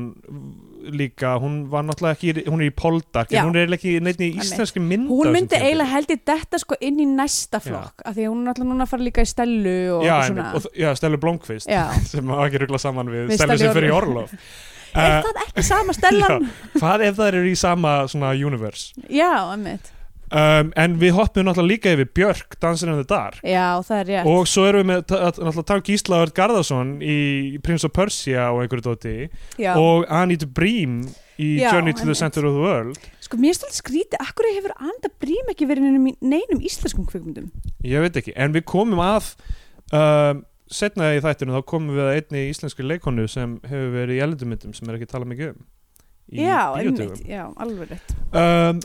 líka, hún var náttúrulega ekki í- hún er í Poldark, Já. en hún er eiginlega ekki neitt í Einmitt. íslenski mynd á Hún þessum myndi tímabil. eiginlega held ég detta sko inn í næsta flokk af því að hún er alltaf núna að fara líka í stellu og já, eitthvað einmitt, svona og, þ- já, Stellu Blomqvist Já, sem má ekki ruggla saman við, Við Stellu Stellu sem fyrir í Orlof er uh, það ekki sama stellan? hvað ef það eru í sama svona universe já, emmitt um, en við hoppum náttúrulega líka yfir Björk Dansir en það dar Já, það er rétt og svo erum við með ta- að- náttúrulega Tár Gísla Örd Garðarsson í Prins of Persia og einhverju dóti já. og Anita Bream í Já, Journey to the einmitt. Center of the World Sko, mér er stóðið skrítið Akkur hefur Anda Brím ekki verið í neinum, neinum íslenskum kvikmyndum ég veit ekki, en við komum að um, setna í þættinu þá komum við að einni íslenski leikonu sem hefur verið í elendumyndum sem er ekki að tala mikið um í Já, bíódögum. einmitt, já, alveg rétt um,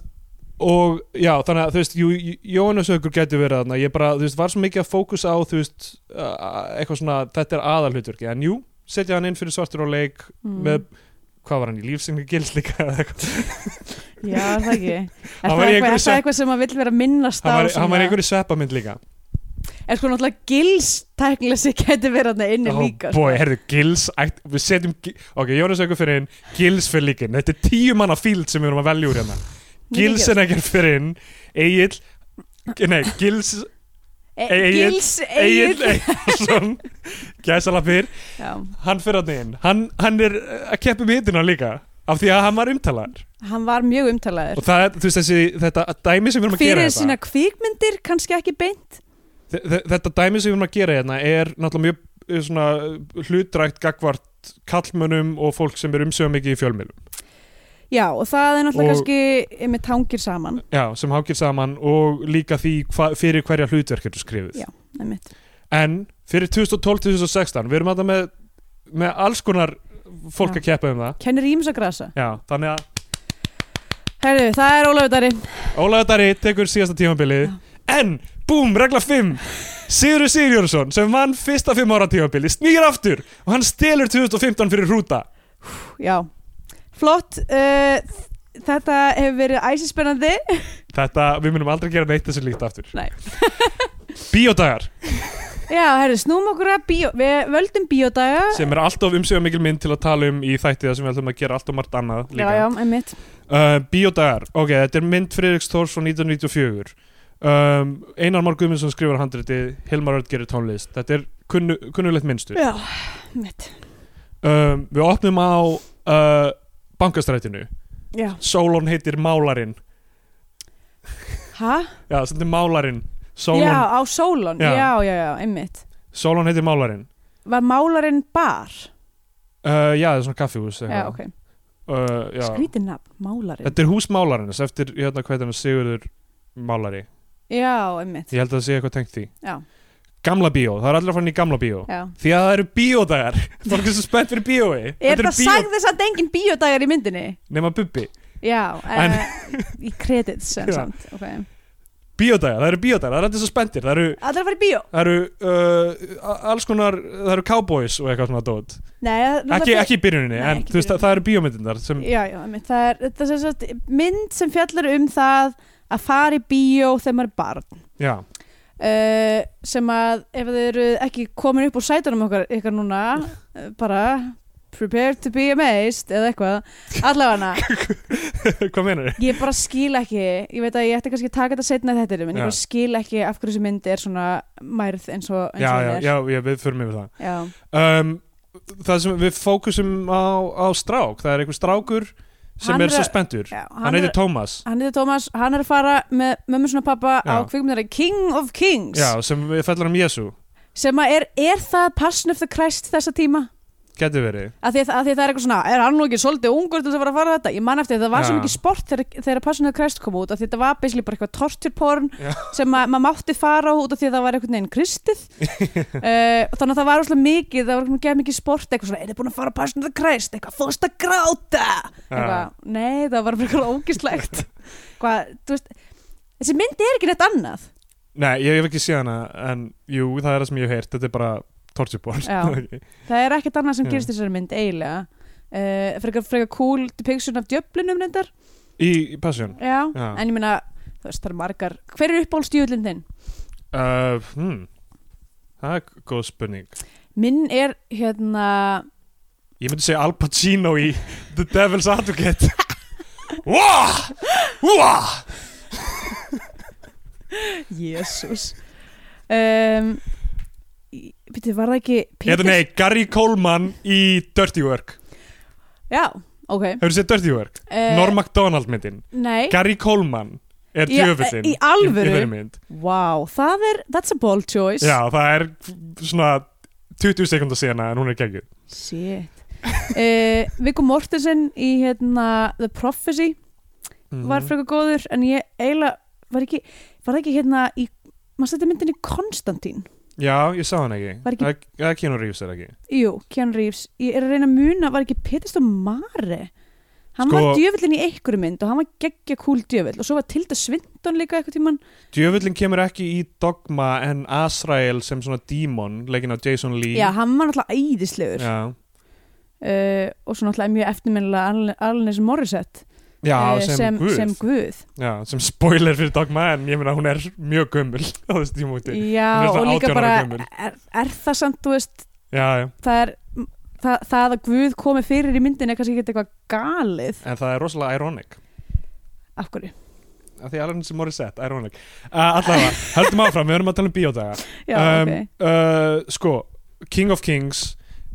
og já, þannig að þú veist, jú, Jú- Jóhannes Haukur gæti verið þarna, ég bara, þú veist, var svo mikið að fókusa á, þú veist, uh, eitthvað svona þetta er aðalhutverki, en jú, setja hann inn fyrir svartur á leik Mm. með, hvað var hann í lífsengu gils líka eða eitthvað, Já, er það ekki Er Hann það var í eitthvað, einhverju er það sem- eitthvað sem maður vill vera að minnast á hann var, svona- hann var í einhverju sveppamynd líka Er sko náttúrulega gils tæknilega sem getur verið hann inni líka sko. Oh, boy, herðu, gils ætt- við setjum, Gi- ok, Jóhannes Haukur fyrir inn gils fyrir líkin, þetta er tíu manna fíld sem við erum að velja úr hérna, Mikið gils en ekkert fyrir inn, Egil nei, gils E- Egill- Gils Egil Egil Eilsson Gæsalapir, Já, hann fyrir hann inn hann, hann er að keppa með hittina líka af því að hann var umtalar hann var mjög umtalaður og það, er, þú veist, þessi, þetta dæmi sem við erum að gera Fyrir sína hérna, kvikmyndir kannski ekki beint þe- þe- þetta dæmi sem við erum að gera hérna er náttúrulega mjög eh, svona, hlutrækt gagvart kallmönnum og fólk sem er umsöga mikið í fjölmiðlum Já, og það er náttúrulega Og- kannski með tangir saman já, sem hákir saman og líka því hva, fyrir hverja hlutverk er skrifuð Já. einmitt. en fyrir 2012-2016 við erum að með, með alls konar fólk Já. að keppa um það Kennir ímsa grasa já, þannig að Herðu, það er Ólafur Dari Ólaður Dari tekur síðasta tímabilið En, búm, regla 5 Sigurður Sigurjónsson sem vann fyrsta 5 ára tímabilið snýr aftur og hann stelur 2015 fyrir hrúta Já, flott uh, Þetta hefur verið æsispennandi Þetta, við munum aldrei gera neitt þessu líkt aftur Nei. Bíódagar Já, herri, snúm okkur að bíó, við völdum bíódaga sem er alltof umsöga mikil mynd til að tala um í þætti það sem við ætlum að gera alltof margt annað Já, líka já, einmitt Uh, Bíódagar, ok, þetta er mynd Friðriks Þórs frá 1994 um, Einar Már Guðmundsson skrifar handritið Hilmar Örd gerir tónlist Þetta er kunnu, kunnulegt mynstur Já, einmitt um, Við opnum á uh, bankastrætinu Já, Sólon heitir Málarinn hæ? Já, sem þetta er Málarinn Já, Sólon, á Sólon, Já. já, já, já, einmitt Sólon heitir Málarinn Var málarinn bar? Uh, já, það er svona kaffihús eitthvað. Já, ok. Uh, já. Skrítið nafn, málarinn. Þetta er hús málarins eftir, hérna, hvað er hann, Sigurður Málari. Já, einmitt. Ég held að það sé eitthvað tengt því. Já, Gamla bíó, það er allir að fara inn í gamla bíó. já. Því að það eru bíódagar. Fólk er svo spennt fyrir bíói. Er eru það sagði þess að engin bíódagar í myndinni? Nefna bubbi. Já, En- en, í kredits en Já. samt. Okay. Bíódagar, það eru bíódagar, það eru allir svo spenntir. Það eru, Allir að fara í bíó? það eru uh, a- alls konar, það eru cowboys og eitthvað svona dót. Nei, það- Ekki, ekki í byrjuninni, Nei, en ekki í þú veist, það, það eru bíómyndindar sem, Já, já, einmitt. það er, þetta er sem sagt, mynd sem fjallar um það að fara í bíó þegar maður er barn já, uh, sem að ef þið eru ekki komin upp úr sætunum okkar, ykkar núna uh, bara prepare to be amazed eða eitthvað allavega hvað menur þið? ég bara skil ekki ég veit að ég ætti kannski að taka þetta setna þetta en Já. ég bara skil ekki af hverju þessi mynd er svona mærð eins og, eins Já, já, og hún er já, já, við förum yfir það. Já. um, það sem við fókusum á, á strák, það er einhver strákur sem Hann er, er svo að- spenntur Já, hann heitir Tómas Hann heitir Tómas, hann er að fara með mömmu svona pappa Já. á kvikmyndari King of Kings já, sem við fellar um Jésu, sem að er, er það Passion of the Christ þessa tíma? geti verið Að því, að því það er eitthvað svona, er hann nú ekki svolítið ungur til þess að fara að fara þetta? Ég man eftir því, það var svo Já. mikið sport þegar, þegar Passion of the Christ kom út af því þetta var basically bara eitthvað torturporn Já. sem að maður mátti fara á út af því að það var einhvern veginn kristið uh, þannig að það var óslega mikið, það var ekki mikið sport eitthvað svona, er þið búin að fara á Passion of the Christ? Eitthvað, fórst að gráta? Já. Eitthvað, nei, það var bara eitthvað ógislegt Hvað, þú veist, þessi mynd er ekki neitt annað nei, ég hef ekki séð hana en jú, það er það sem ég hef heyrt, þetta er bara torture porn Já. Það er ekkert annað sem Já. gerist í þessari mynd eiginlega uh, frekar, frekar cool depiction af djöflinum reyndar í, í Passion já. Já. en ég meina, þú veist, það eru margar Hver er uppáhaldstjöflin þinn? uh, hmm. það er góð spurning Minn er hérna ég myndi segja Al Pacino í The Devil's Advocate Wah! Wah! Jésús um, Býttu, var það ekki Peter- Eða Hérna, nei, Gary Coleman í Dirty Work Já, ok uh, Hefur þú séð Dirty Work? Eh, Norm MacDonald myndin Nei, Gary Coleman er Já, djöfullin í í, alvöru? í þeirri mynd. wow, það er That's a bold choice Já, það er svona 20 sekundar sena en hún er geggjuð Shit uh, Viggo Mortensen í hérna The Prophecy Mhm. var frekar góður en ég eiginlega var ekki, var það ekki hérna í maður stætti myndinni Konstantín Já, ég sá hann ekki Var ekki- Það- Það er Keanu Reeves er ekki jú, Keanu Reeves, ég er að reyna að muna var ekki Petist og Mare hann Sko- var djöfullin í einhverju mynd og hann var geggja kúl djöfull og svo var Tilda Svindon líka eitthvað tíman, Djöfullin kemur ekki í Dogma en Azrael sem svona dímon leikinn á Jason Lee já, hann var náttúrulega æðislegur uh, Já, og svo náttúrulega mjög eftirminnilega Alanis Morissette Já eh, sem, sem, guð sem guð. Já, sem spoiler fyrir Dogma en ég meina hún er mjög gömul á þessu tímúti Hún já, er svona og líka 18 ára bara gömul. er, er það samt, þú veist Já, já það er það, það að Guð komi fyrir í myndin er kannski ekki eitthvað galið En það er rosalega ironic af hverju, Af Því Alanis Morissette, ironic uh, Allavega, höldum áfram, við erum að tala um bíódaga já um, ok uh, sko, King of Kings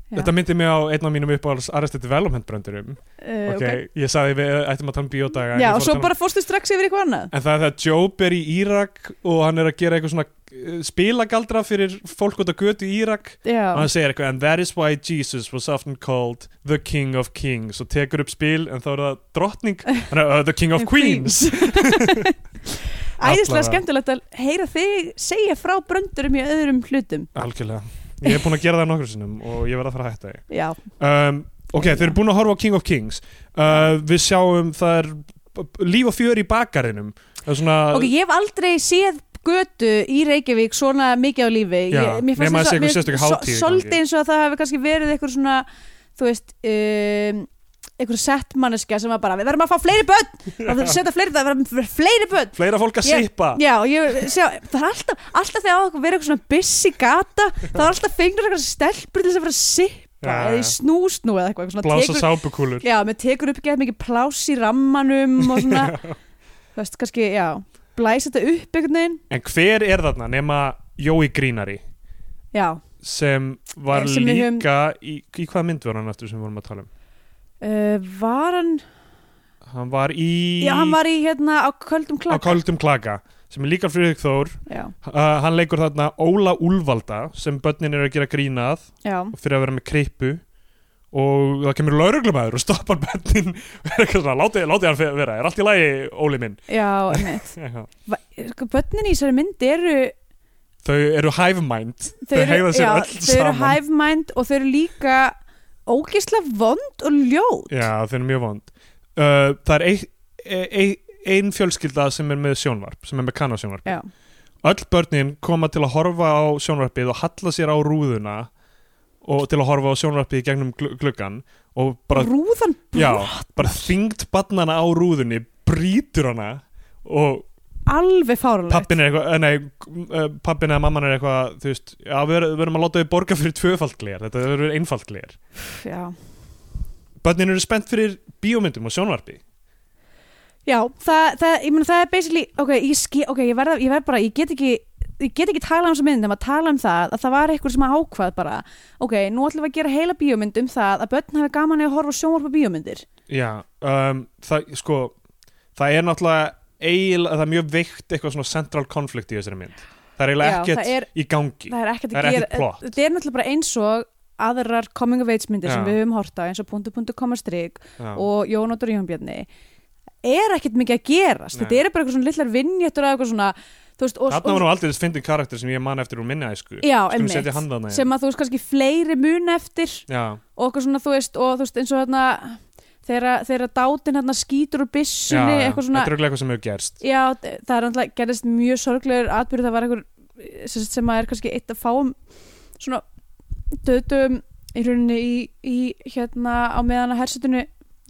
Já. þetta myndi mig á einn af mínum uppáhalds Arrested Development bröndurum uh, okay. okay. ég sagði við ættum að tala um bíódaga en já ég fór að og svo tala um- bara fórstu strax yfir eitthvað annað en það er þegar Job er í Írak og hann er að gera eitthvað svona uh, spilagaldra fyrir fólk út á götu í Írak og já, hann segir eitthvað and that is why Jesus was often called the King of Kings og tekur upp spil en þá er það drottning hann er uh, the King of Queens æðislega Allavega. skemmtilegt að heyra þig segja frá bröndurum í öðrum hlutum algjörlega, ég hef búin að gera það nokkur sinnum og ég verð að fara að hætta því já, um, ok, þeir eru búin að horfa á King of Kings uh, við sjáum það er líf og fjör í bakarinum það er svona ok, ég hef aldrei séð götu í Reykjavík svona mikið á lífi Já, ég, mér nema að sé fannst einhver eins sérstök og- mér- hátíð í so- svolítið gangi. eins og að það hefur kannski verið eitthvað svona þú veist um, eitthvað sett manneskja sem var bara við verðum að fá fleiri börn, við verðum að setja fleiri það verðum fleiri börn fleira fólk að Ég- sippa Já, ég, sjá, það er alltaf, alltaf þegar á okkur verið eitthvað svona busy gata það er alltaf fengur eitthvað stelpur til þess að fara að sippa Já, eða já. í snúsnú eða eitthvað, eitthvað svona blása tekur, sápukúlur Já, með tekur upp gett mikið pláss í rammanum og svona þú veist, kannski, já blæs þetta upp einhvern veginn en hver er þarna nema Jói Grínari Já, sem var Sem við höfum- líka í, í hvað mynd var hann eftir sem við vorum að tala um uh, var hann hann var í Já, hann var í hérna á köldum á klaka Kaldum Klaka sem er líka Friðrik Þór Já, uh, hann leikur þarna Óla Úlvalda sem börnin eru að gera grínað já, fyrir að vera með krippu og það kemur lauruglumæður og stoppar bættin og er eitthvað svona, láti, láti hann fe- vera, er allt í lagi, Óli minn Já, einmitt. Eitthvað. Va- Sko, börnin í þessari mynd eru þau eru hive mind þau, hegða sér já, öll þau eru saman hive mind og þau eru líka ógisla vond og ljót já, þau eru mjög vond uh, það er ein, ein, ein fjölskylda sem er með sjónvarp, sem er með kannasjónvarp Já. öll börnin koma til að horfa á sjónvarpið og halla sér á rúðuna og til að horfa á sjónvarpið í gegnum glu- gluggan og bara, Rúðan já, bara þyngd barnana á rúðunni, brýtur hana og alveg fáralegt pappin er eitthvað eh, nei, eh, pappin eða mamman er eitthvað þú veist, já, við ver- við verðum að láta þau borga fyrir tvöfaldglir, þetta verður einfaldglir Já. börnin eru spennt fyrir bíómyndum og sjónvarpi Já, það, það, ég meina það er basically ok, ég, ski, ok, ég verð, ég verð bara, ég get ekki ég get ekki talað um þessu mynd nema að tala um það að það var eitthvað sem ákvað bara ok, nú ætlum við að gera heila bíómynd um það að börn hafi gaman að horfa á sjónvarpa bíómyndir Já, um, það, sko, það er náttúrulega eiginlega, það er mjög veikt eitthvað svona central konflikt í þessari mynd. Það er eiginlega Já, ekkert það er- í gangi. það er ekkert Það að er gera ekkert plott. þetta er náttúrulega bara eins og aðrar coming of age myndir sem Já. við höfum horta eins og punktu punktu koma strik Já. og Jónóttur Jónbjörni er ekkert mikið að gerast Nei. þetta eru bara eitthvað svona lillar vinnjættur eða eitthvað svona þú veist, og, Þarna var nú aldrei þessi fyndin karakter sem ég man eftir úr minni æsku. já, Skulum setja hann þarna einmitt, inn. sem að þú veist kannski fleiri mun eftir Já, og eitthvað svona þú veist og þú veist eins og þarna þegar þegar dátin hérna skýtur úr já, byssunni já. eitthvað svona Þetta er örugglega eitthvað sem hefur gerst. Já, þ- það er alltaf gerðist mjög sorglegur atbyrð, það var einhver sem, sagt sem að er kannski eitt að fáum svona döðdum í rauninni í, í hérna á meðan að hersetunni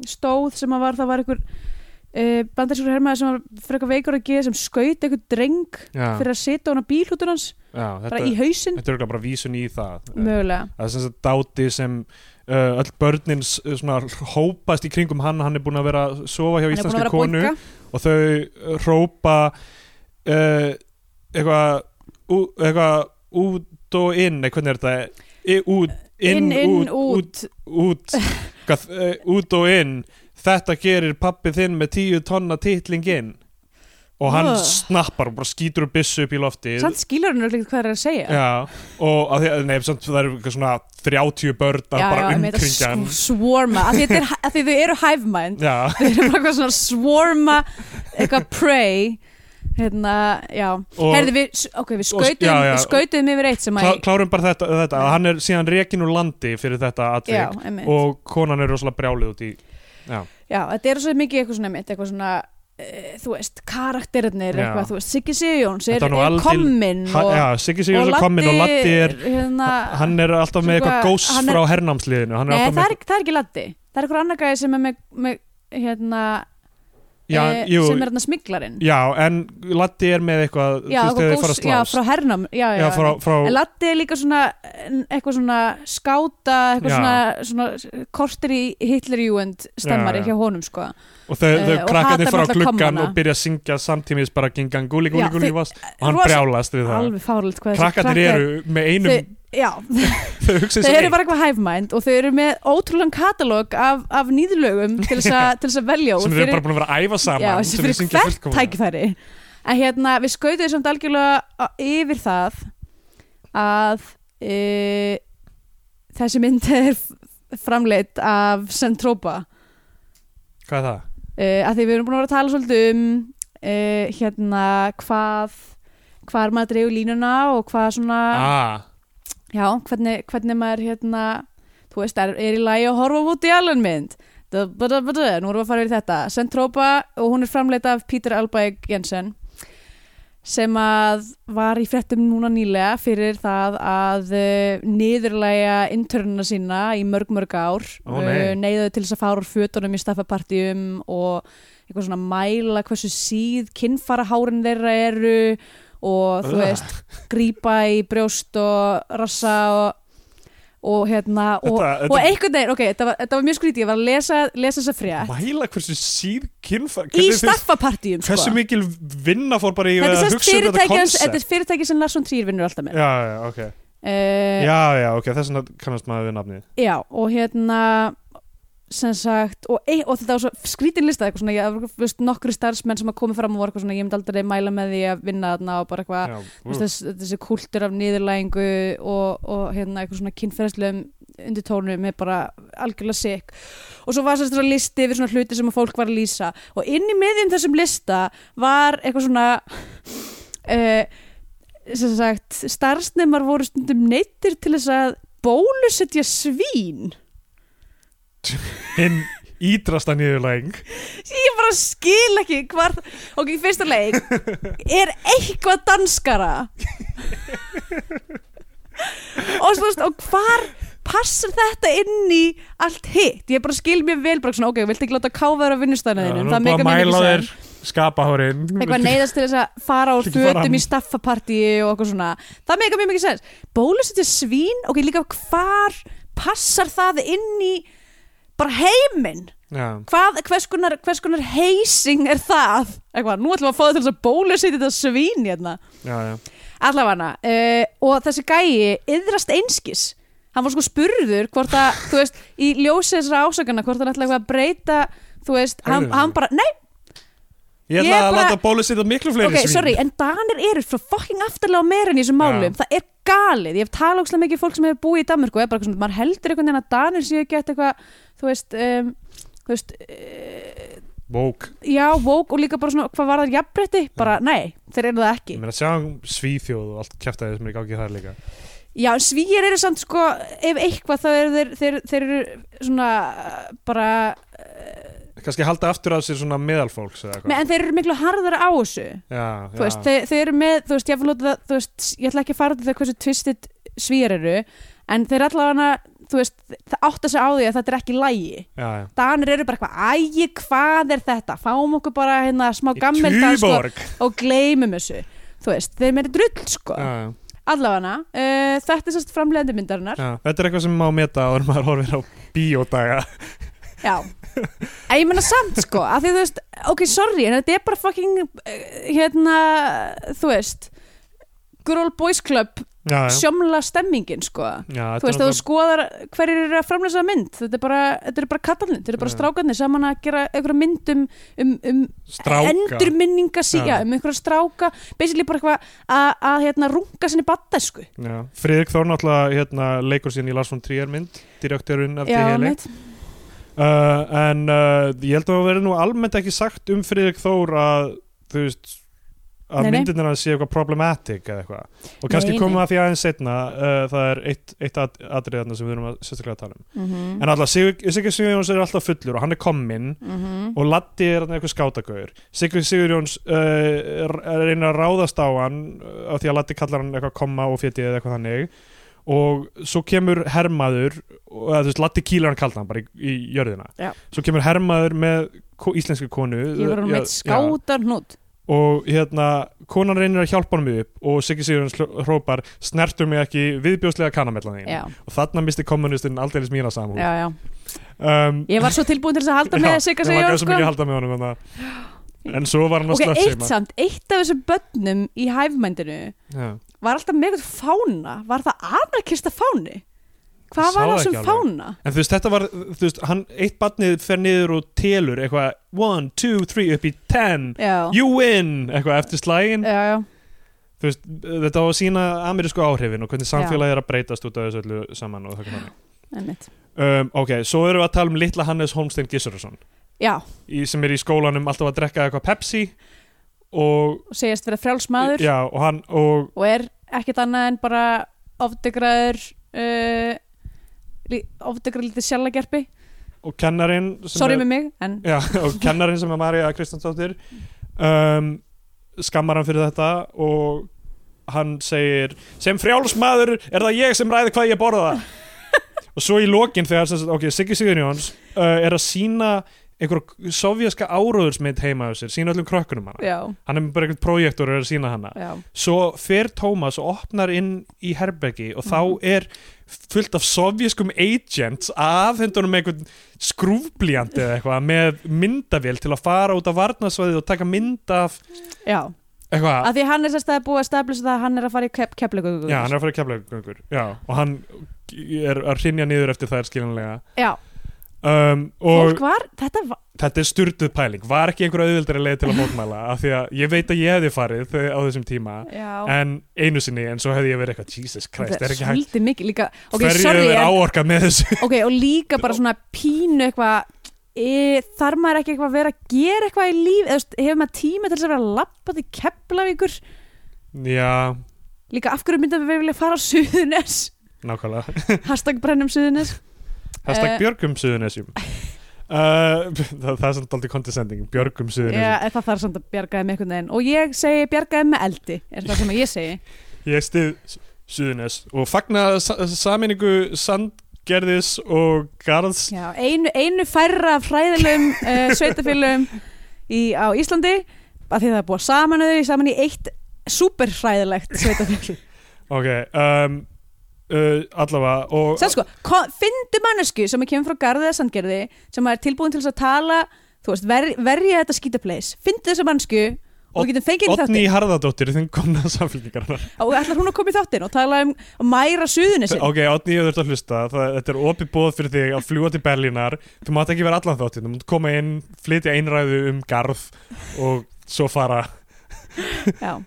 stóð sem að var, það var einhver uh, bandarskur hermaður sem var frekar veikur að geða sem skaut einhver dreng Já, fyrir að sita á bílhútur hans já bara þetta, í hausinn, þetta er örugglega bara vísun í það. mögulega Það er sem sagt dáti sem uh, öll börnin s- svona hópast í kringum hann, hann er búin að vera að sofa hjá Hann er búinn að íslenski vera að konu. boinga. og þau hrópa uh, eitthvað ú- eitthvað út og inn nei, hvernig er þetta I, út, inn, inn, inn, út, út, út, út, hvað, uh, út og inn þetta gerir pappi þinn með tíu tonna titling inn og hann Ugh. snappar og bara skýtur upp byssu upp í loftið samt skilur hann örugglega ekki hvað það er að segja Já, og að því, að- nei, samt, það eru eitthvað svona 30 börn að bara einmitt, sko. að umkringja hann sv- swarma, af því þetta er- af því þau eru hive mind Já, þeir eru bara eitthvað svona swarma eitthvað prey hérna, já Og- Herði, við, ok, við og- skautum, já, já. skautum yfir eitt sem að klá, klárum bara þetta, þetta að hann er síðan rekin úr landi fyrir þetta atvik já, einmitt og konan er rosalega brjálið út í já, þetta er svo mikið eitthvað svona einmitt eitthvað svona eh, þú veist, Já. karakterinir eitthvað, þú veist, Siggi Sigjóns er, Þetta var nú er aldil- kommin ha, og, já, Siggi Sigurðsson er kominn og Latti er hérna, hann er alltaf með Sko, eitthvað gós hann er- frá hernámsliðinu hann nei, er það, alltaf með er, það er ekki Latti það er eitthvað annar gæði sem er með, með hérna, já, eh, jú, sem er hérna smiglarinn já, en Latti er með eitthvað já, þú veist, þegar eitthvað þið fara að gós, já, slást frá hernam já, já, já, frá, frá, En Latti er líka svona en eitthvað svona skáta eitthvað Já. svona, svona kortir í Hitlerjúend stemmari Já, já. hjá honum sko og þau, þau eh, og krakkarnir hatar frá náttúrulega gluggan kommana. og byrja að syngja samtímis bara gingan gúli gúli Já, gúli þau- vass og hann rosa- brjálast við það alveg fárlegt hvað þessi krakkarnir krakkar- eru með einum þau, já, þau hugsa þau sér eru bara eitthvað hæfmænd og þau eru með ótrúlegan katalóg af, af nýðlögum til þess að- til þess að velja úr sem þau fyrir- eru bara búin að vera að æfa já, saman sem fyrir þau syngja hvert fullkomlega. tækifæri en hérna við skautum samt algjörlega á- yfir það að e, þessi mynd er framleitt af Centropa hvað er það? uh, að því við erum búin að vera að tala svolítið um uh, hérna hvað hvað er maður að dreifu línuna og hvað svona, Ah, já, hvernig, hvernig maður hérna, þú veist, er, er í lagi að horfa út í alveg mynd Da, ba, da, ba, da. nú erum við að fara yfir þetta Sentropa og hún er framleita af Peter Albaeg Jensen sem að var í fréttum núna nýlega fyrir það að uh, niðurlæja internuna sína í mörg mörg ár Ó, nei. Eh, neyða þau til þess að fara úr fötunum í staffapartíum og eitthvað svona mæla hversu síð kinnfarahárin þeirra eru og þú Ugh. veist grípa í brjóst og rassa og, og hérna og, Þetta- þetta- og einhvern veginn, ok, þetta var, þetta var mjög skrítið ég var að lesa, lesa þessa frétt mæla hversu síð kynfa í hvernig finnst- staffapartíum sko. hversu mikil vinna fór bara í þetta að er sem sagt hugsa um þetta fyrirtæki hans- koncept þetta er fyrirtæki sem Lars von Trier vinnur alltaf með já, já, ok uh, já, já, ok, þess vegna kannast maður við nafnið Já, og hérna sem sagt, og, ein, og þetta var svo skrítin lista, eitthvað svona, ég þú veist nokkru starfsmenn sem að koma fram og voru eitthvað svona, ég myndi aldrei mæla með því að vinna þarna Ah, og bara eitthvað já, þú veist, þess, þessi kultur af niðurlægingu og, og hérna eitthvað svona kynferðslegum undir tónu með bara algjörlega sikk og svo var sérst svona listi yfir svona hluti sem að fólk var að lýsa og inn í miðjum þessum lista var eitthvað svona uh, sem sagt starfsnemar voru stundum neittir til þess að bólusetja svín hinn ídrasta niðurlæging ég bara skil ekki hvar ok, í fyrsta leik er eitthvað danskara og svo veist, og hvar passar þetta inn í allt hitt ég bara skil mér vel bara svona, ok, viltu ekki láta káfaður á vinnustæðinu það er búið að mæla þér skapahórin eitthvað neyðast til þess að fara úr Ekki fara fötum hann. í staffapartíi og eitthvað svona það meika mjög mikið sens bólusetja svín, ok, líka hvar passar það inn í bara heiminn já, hvað, hvers konar, hvers konar heysing er það? Eitthvað, nú ætlum við að fá það til þess að bólusetja þetta svín hérna. já, já. Allavega uh, og þessi gæi yðrast einskis. Hann var sko spurður hvort að, þú veist, í ljósi þessara ásakana, hvort hann ætla eitthvað að breyta, þú veist, hann, Heyrðu. hann bara, nei, ég Ég ætla er að bara- láta bólu setja miklu fleiri ok, svín sorry, en danir eru frá fucking aftarlega á meirin í þessum málum. Það er galið, ég hef talað ógstlega mikið við fólk sem hefur búið í Danmörku og er bara eitthvað svona, maður heldur einhvern veginn að danir séu gett eitthvað, þú veist, um, þú veist, bók, já, woke og líka bara svona hvað var það jafnbretti, bara nei, þeir eru það ekki ég meina sjá um svíþjóð og allt kjæftæði sem er í gangi þar líka já, en svíjar eru samt sko ef eitthvað þá eru þeir, þeir, þeir eru svona uh, bara kannski halda aftur af sér svona meðalfólks eða eitthvað með, en þeir eru miklu harðara á þessu já, þú veist, já, þeir, þeir eru með, þú veist, ég, vil láta það, þú veist, ég ætla ekki að fara til það hversu tvistit svíjar eru en þeir allavega, þú veist, það átta sig á því að þetta er ekki lægi já, já. Danir eru bara eitthvað, ægi, hvað er þetta? Fáum okkur bara hérna smá gammeldansk og, Tuborg og gleymum þessu. Þú veist, þeir meiri drull sko. já, já. Allavegana, uh, þetta er sérst framlegandi myndarinnar Já, þetta er eitthvað sem má meta áður en maður horfir á bíódaga Já En ég menna samt sko, af því þú veist Ok, sorry, en þetta er bara fucking uh, Hérna, þú veist Good old boys club Já, já. Sjómla stemmingin sko Já, þetta Þú veist, er ef þú náttúrulega- skoðar hverjir eru að framleysa mynd Þetta er bara, þetta er bara kattalinn, þetta er bara Já. strákarnir Saman að gera einhverja mynd um, um, um stráka Endurminninga sí, Já. já, um einhverja stráka Basically bara eitthvað að- að hérna, runga sinni baddesku Já. Friðrik Þór náttúrulega hérna, leikur síðan í Lars von Trier mynd direktörun af því heili mitt. E. uh, en uh, ég held að það verði nú almennt ekki sagt um Friðrik Þór að þú veist að Nei, nei. myndinir hans sé eitthvað problematic eða eitthvað og kannski Nei, nei. komum við að því aðeins setna uh, það er eitt, eitt at- atriði þarna sem við erum að sérstaklega að tala um Mm -hmm. en alltaf Sigur Sigur Sigurjóns er alltaf fullur og hann er kominn mhm. og Latti er þarna eitthvað skátagauður Sigur Sigurjóns uh, er er að reyna að ráðast á hann uh, af því að Latti kallar hann eitthvað komma og fjötið eða eitthvað þannig og svo kemur hermaður og eða, þú veist, Latti kýlar hann kallar hann bara í, í jörðina Já. svo kemur hermaður með ko íslensku konu Ég var hann Já, meitt skátan hnút já. og hérna konan reynir að hjálpa hann upp og Sigur Sigurjóns hrópar snertur mig ekki viðbjóðslega kanamellan þín Já, og þarna misti kommunistinn aldeilis mína samhú já, já um, Ég var svo tilbúin til þess að halda Já, með Sigga mig Sigurjón langaði svo mikið að sko. halda með honum þarna. en svo var hann að Ok, okay, eitt samt, eitt af þessum börnum í hæfmændinu Já. var alltaf með eitthvað fána Var það anarkista fáni? Ég Hvað sá var það það sem ekki alveg. fána? En þú veist, þetta var, þú veist, hann, eitt barnið fer niður og telur eitthvað, one, two, three, upp í ten, Já, you win, eitthvað eftir slægin. já, já, Þú veist, þetta á að sína amerísku áhrifin og hvernig samfélagið er að breytast út af þessu öllu saman og það kannan. einmitt Um, ok, svo erum við að tala um litla Hannes Holmstein Gissurusson, Já, í, sem er í skólanum alltaf að drekka eitthvað Pepsi og, og segjast vera frjálsmaður já, og hann, og, Og er ekkert annað en bara ofdegraður uh, Ofdegraður lítið sjálfagerpi og kennarin sem Sorry er- með mig, en Já, og kennarinn sem er Marja Kristjánsdóttir um, skammar hann fyrir þetta og hann segir sem frjálsmaður er það ég sem ræði hvað ég borða og svo í lokin þegar sem sagt, ok, Siggi Sigurjóns uh, er að sína einhver sovjaska áróðursmynd heima á sér, sína öllum krökkunum hana já, hann er með bara einhvern projektor og er að sína hana já svo fer Tómas og opnar inn í herbeggi og þá Mhm. er fullt af sovjaskum agents aðhendunum einhvern skrúfblíjant eða eitthvað með myndavél til að fara út á varnasvæðið og taka mynd af Já, eitthvað af því hann er sérst að búið að stablisa það að hann er að fara í kep keplegöku Já, hann er að fara í keflaugöngur Já, og hann er að hrynja niður eftir það er skiljanlega Já, um, og Fólk var, þetta var þetta er styrtuð pæling var ekki einhver auðvildari leið til að mótmæla af því að ég veit að ég hefði farið þe- á þessum tíma Já, en einu sinni en svo hefði ég verið eitthvað Jesus Christ, er ekki hægt svolítið mikið líka Ok, hverju sorry, hefur en, áorkað með þessu ok, og líka bara svona pínu eitthvað e, Þarf maður ekki eitthvað að vera að gera eitthvað í líf Eða þú veist, hefur maður tíma til þess að vera að lappa til Keflavíkur já, Líka af hverju myndum við vilja fara á Suðunes nákvæmlega Hashtag brennum Suðunes hashtag Eh. Björgum Suðunesjum Uh, það, það er samt aldrei condescending Björgum Suðunesjum Já, en það þarf samt að bjargaði með einhvern veginn Og ég segi bjargaði með eldi Er það sem ég segi Ég stið Suðunes og fagna sa saminningu Sandgerðis og Garðs Já, einu, einu færra af fræðilegum uh, sveitafélum í, á Íslandi að því það er búið saman þau saman í eitt superfræðilegt sveitafél Ok, um, uh, allavega og, Sér sko, ko- fyndu mannesku sem er kemur frá Garðið að Sandgerði sem er tilbúin til þess að tala þú veist, ver, verja þetta skítapleis fyndu þessa mannesku og við getum fengið henni í Otni þáttinn Harðardóttir, þinn komna samfélkingarna og ætlar hún að koma í þáttinn og tala um að mæra suðunni sinn Ok, Otni, ég þurft að hlusta það, Þetta er opið bóð fyrir þig að fljúa til Berlínar Þú mátt ekki vera allan þáttinn Þú mátt koma inn, flytja einræðu um Garð og svo fara Já.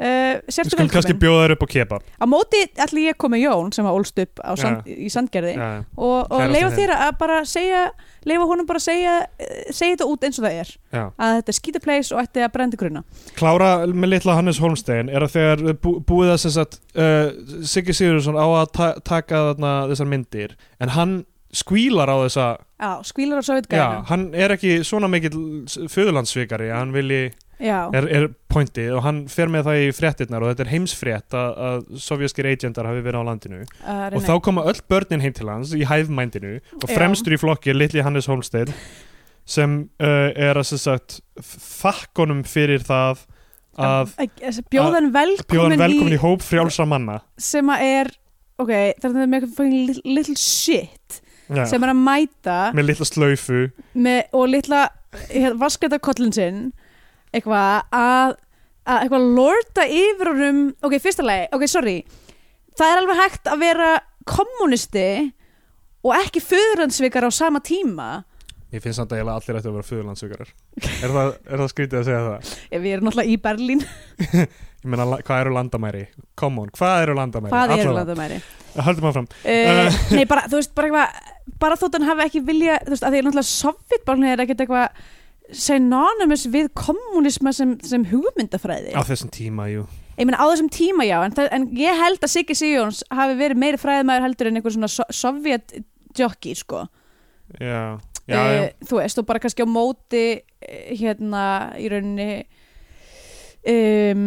Uh, Við sértu skulum kannski velkomin bjóða þér upp á kepa á móti ætli ég komi Jón sem var ólst upp á sand, í Sandgerði ja. og, og Kærasta leifa þín. þér að bara segja leifa honum bara að segja eh, segja þetta út eins og það er Já. að þetta er skítapleis og ætti að brendi gruna Klára með litla Hannes Holmstein er að þegar bú, búið að sem sagt uh, Siggi Sigurðsson á að ta taka þarna þessar myndir en hann skvílar á þessa já, skvílar á já, sovjetgæðinu hann er ekki svona mikill föðurlandsvikari, hann vilji já, er, er pointið og hann fer með það í fréttirnar og þetta er heimsfrétt að, að sovjaskir agentar hafi verið á landinu uh, Eh, og þá koma öll börnin heim til hans í hæðmændinu og Já. fremstur í flokki er litli Hannes Holmstein sem uh, er að sem sagt þakkonum fyrir það að bjóðan bjóðan velkomin, velkomin í, í hóp frjálsra manna sem að er ok, það er með eitthvað fucking little, little shit Já. sem er að mæta með litla slaufu með, og litla vasketakollin sinn eitthvað að, að eitthvað lorta yfir og um, ok, fyrsta lagi, ok, sorry það er alveg hægt að vera kommunisti og ekki föðuransvikar á sama tíma ég finnst samt að eiginlega allir ættu að vera föðurlandsugarar er, það, er það skrítið að segja það? ef við erum náttúrulega í Berlín ég meina, la- hvað eru landamæri? come on, hvað eru landamæri? hvað er landamæri landamæri? höldum áfram uh, nei, bara, þú veist, bara eitthvað bara þótt hann hafi ekki vilja þú veist, að því er náttúrulega sovjetbálni er ekkert eitthvað synonymous við kommunisma sem, sem hugmyndafræði á þessum tíma, jú ég meina á þessum tíma já en, það, en ég held að Siggi Sigjóns hafi verið meiri fræðmaður heldur en einhver svona so sovjet jockey sko já, já, já. Eh, þú veist og bara kannski á móti eh, hérna í rauninni um,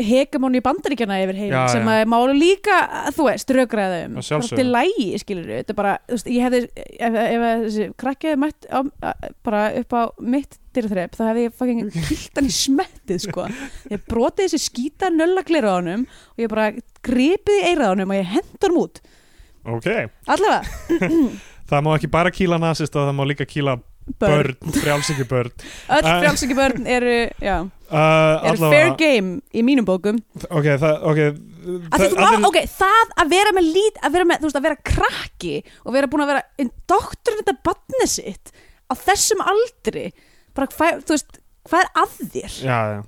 hegemóni bandaríkjana yfir heim Já, sem já. að málu líka þú veist rökraðum Að sjálfsögðu. þetta er lægi skilur þetta er bara þú veist ég hefði ef, ef að þessi krakkiði mætt á, að, bara upp á mitt dyrþrepp þá hefði ég fucking kilt hann í smettið sko ég brotið þessi skýta nöllagleira á honum og ég bara gripið í eirað á honum og ég hendur hann út ok, allavega það má ekki bara kýla nasista það má líka kýla börn, börn frjálsingi börn öll Eh. frjálsöki börn eru já uh, er fair allavega, game í mínum bókum ok, það, ok Af því þú má, ok, það að vera með lít að vera með, þú veist, að vera krakki og vera búin að vera en doktorinn þetta badni sitt á þessum aldri bara, hva, þú veist, hvað er að þér? já, já.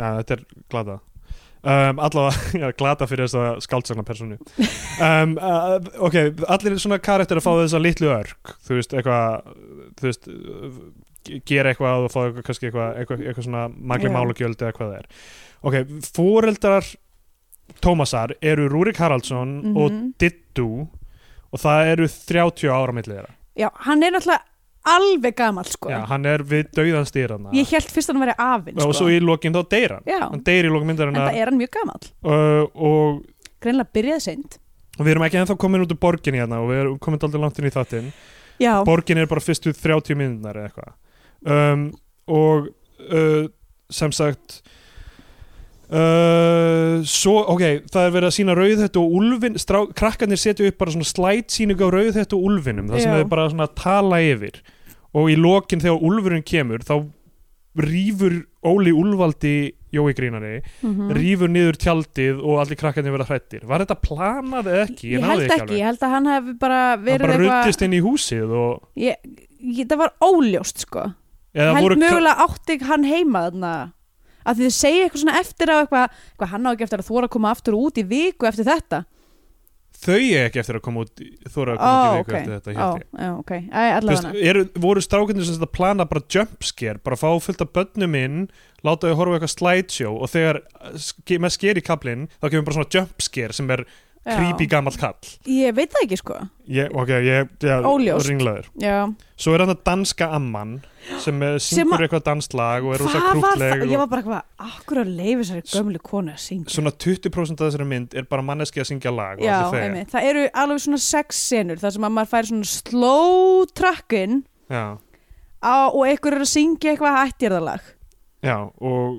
já, þetta er glata um, allavega, já, glata fyrir þess að skaldsagna personu um, uh, ok, allir svona karakter að fá þess að litlu örk þú veist, eitthvað þú veist, uh, gera eitthvað og fá eitthvað, kannski eitthvað, eitthvað, eitthvað svona magli Já. málugjöld eða hvað það er ok, fóreldrar Tómasar eru Rúrik Haraldsson Mhm. og Dittu og það eru 30 ára milli þeirra Já, hann er náttúrulega alveg gamall, sko já, hann er við dauðanstýrana Ég held fyrst að hann væri afinn, sko og svo í lokin þá deyr hann Já, hann en deyr í lokin myndarinnar það er hann mjög gamall uh, og Greinlega byrjaði seint og við erum ekki ennþá komin út úr borginni hérna og við erum komin aldrei langt inn í þáttinn Já, borgin er bara fyrstu 30 minúnar eða eitthvað um, og uh, sem sagt uh, svo, ok, það er verið að sína rauðhett og úlfin, strá, krakkarnir setja upp bara svona slæt síningu á rauðhett og úlfinum það sem Já. þau bara svona tala yfir og í lokin þegar úlfurinn kemur þá rýfur Óli Úlvaldi Jói Grínari, Mhm. rýfur niður tjaldið og allir krakkarnir verða hrættir var þetta planað eða ekki? Ég held ekki, ég held að hann hef bara hann verið bara ruttist eitthvað inn í húsið og, ég, ég, Það var óljóst sko eða Held voru ka- mögulega átti hann heima þarna að því þið segja eitthvað svona eftir að eitthvað, eitthvað hann á ekki eftir að þóra að koma aftur út í viku eftir þetta þau eiga ekki eftir að koma út þóra að koma út í viku ok. eftir þetta Ó, hélt ég já, ok, Æ, Þú veist, allavega eru, voru strákinni sem þetta plana bara jumpscare, bara fá fullt af bönnum inn láta þau horfa á eitthvað slideshow og þegar uh, ske, með sker í kaplinn þá kemur bara svona jumpscare sem er Já. creepy gammal kall Ég veit það ekki sko ég, ok, ég, já, Óljóst. ringlaður Já, svo er hann að danska amman sem eh, Sem syngur að- eitthvað danslag og er rosa Hvað var það? krútleg Ég og var bara eitthvað, akkur að leifa sér gömlu konu að syngja svona 20% af þessari mynd er bara manneski að syngja lag og Já, allir þegja. einmitt, það eru alveg svona sex senur þar sem að maður fær svona slow trackin já, á, og einhver er að syngja eitthvað hættjörðalag já, og,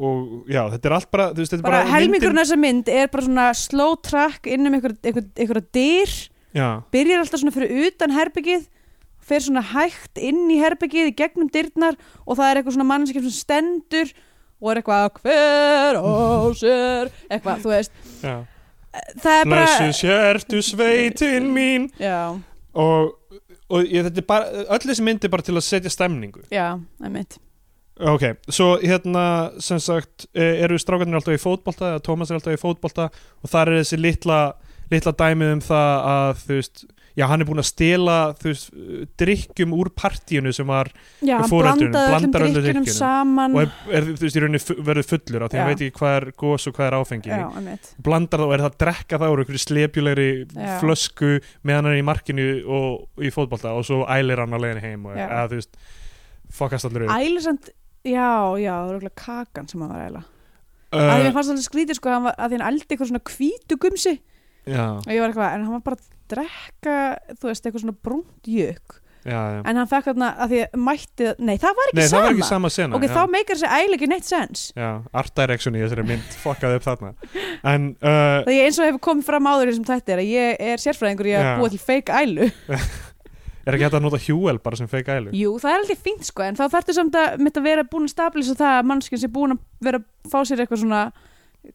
og já, þetta er allt bara, þú veist, þetta er bara bara helmingurinn af þessa mynd er bara svona slow track inn um einhver, einhver, einhverja dyr já, byrjar alltaf svona fyrir utan herbyggið fer svona hægt inn í herbyggið í gegnum dyrnar og það er eitthvað svona mannskip sem stendur og er eitthvað hver á sér eitthvað, þú veist já það Blessu er bara, sértu sveitin mín já, og, og ég, þetta er bara öll þessi mynd er bara til að setja stemningu já, einmitt ok, svo hérna sem sagt eh, eru strákarnir alltaf í fótbolta eða Tómas er alltaf í fótbolta og þar er þessi litla, litla dæmið um það að þú veist Já, hann er búinn að stela, þú veist, eh, drykkjum úr partíinu sem var já, Og hann foreldrunum, blandaði öllum blandar öllu drikkinum drykkjunum. saman og er, er, þú veist, í rauninni fu- verður fullur af því hann Mm. Já. veit ekki hvað er gos og hvað er áfengi. já, einmitt Blandar það og er það að drekka það úr einhverju slepjulegri Já. flösku meðan hann er í markinu og í fótbolta og svo ælir hann á leiðinni heim og Já. eða, þú veist, fokast allir upp. ælisand, já, já, það var örugglega kakan sem hann var æla Uh, að því mér fannst alltaf skrítið sko að hann var- að því hann eldi eitthvað svona hvítu gumsi já, og ég var eitthvað, en hann var bara að drekka þú veist, eitthvað svona brúnt jökk já, já. en hann fekk þarna að því mætti nei, það var ekki Nei, það sama, var ekki sama sena ok, já. þá meikar þessi ægilega ekki neitt sens já, Art direction í þessari mynd fokkaði upp þarna En uh, það ég eins og hefur komið fram áður í þessum þætti er að ég er sérfræðingur í að Já. búa til fake ælu er ekki hægt að nota hjúel bara sem feik ælu? jú, það er alltaf fínt sko, en þá þarftu samt að mitt að vera búin að stabilisa það að mannskinn sé búin að vera fá sér eitthvað svona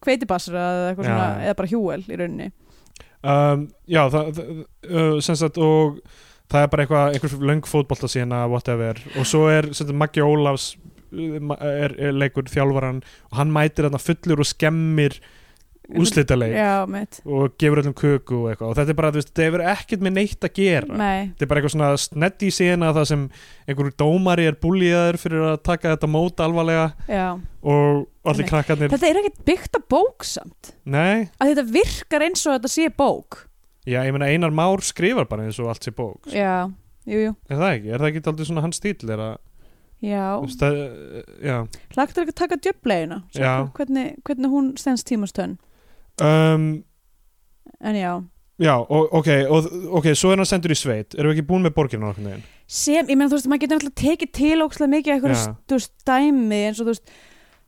kveitibassra eða, eitthvað Já. svona, eða bara hjúel í rauninni Um, já, það, það uh, sem sagt og það er bara eitthvað einhver löng fótbolta sína, whatever og svo er sem sagt Maggi Ólafs uh, ma- er, er leikur þjálfaran og hann mætir þarna fullur og skemmir úslitaleik já, mitt, og gefur öllum köku og eitthvað og þetta er bara, þú veist, þetta hefur ekkert með neitt að gera nei þetta er bara eitthvað svona snetti sína það sem einhverjur dómari er búlíðaður fyrir að taka þetta mót alvarlega já. og allir Nei. krakkarnir þetta er ekkert byggt að bók samt nei, að þetta virkar eins og þetta sé bók já ég meina Einar Már skrifar bara eins og allt sé bók já, jú, jú, er það ekki, er það ekki aldrei svona hans stíl er að, já þú veist, það, eh, já hlagt er ekki að taka djöflegina Já. hvernig, hvernig hún stendst tímastönn um, en já, já, og, ok og, ok, svo er hann sendur í sveit, erum við ekki búin með borgirna okkur neginn, sem, ég meina þú veist, maður getur náttúrulega tekið til ókslega mikið af einhverju, Já. st- þú veist, dæmi eins og þú veist,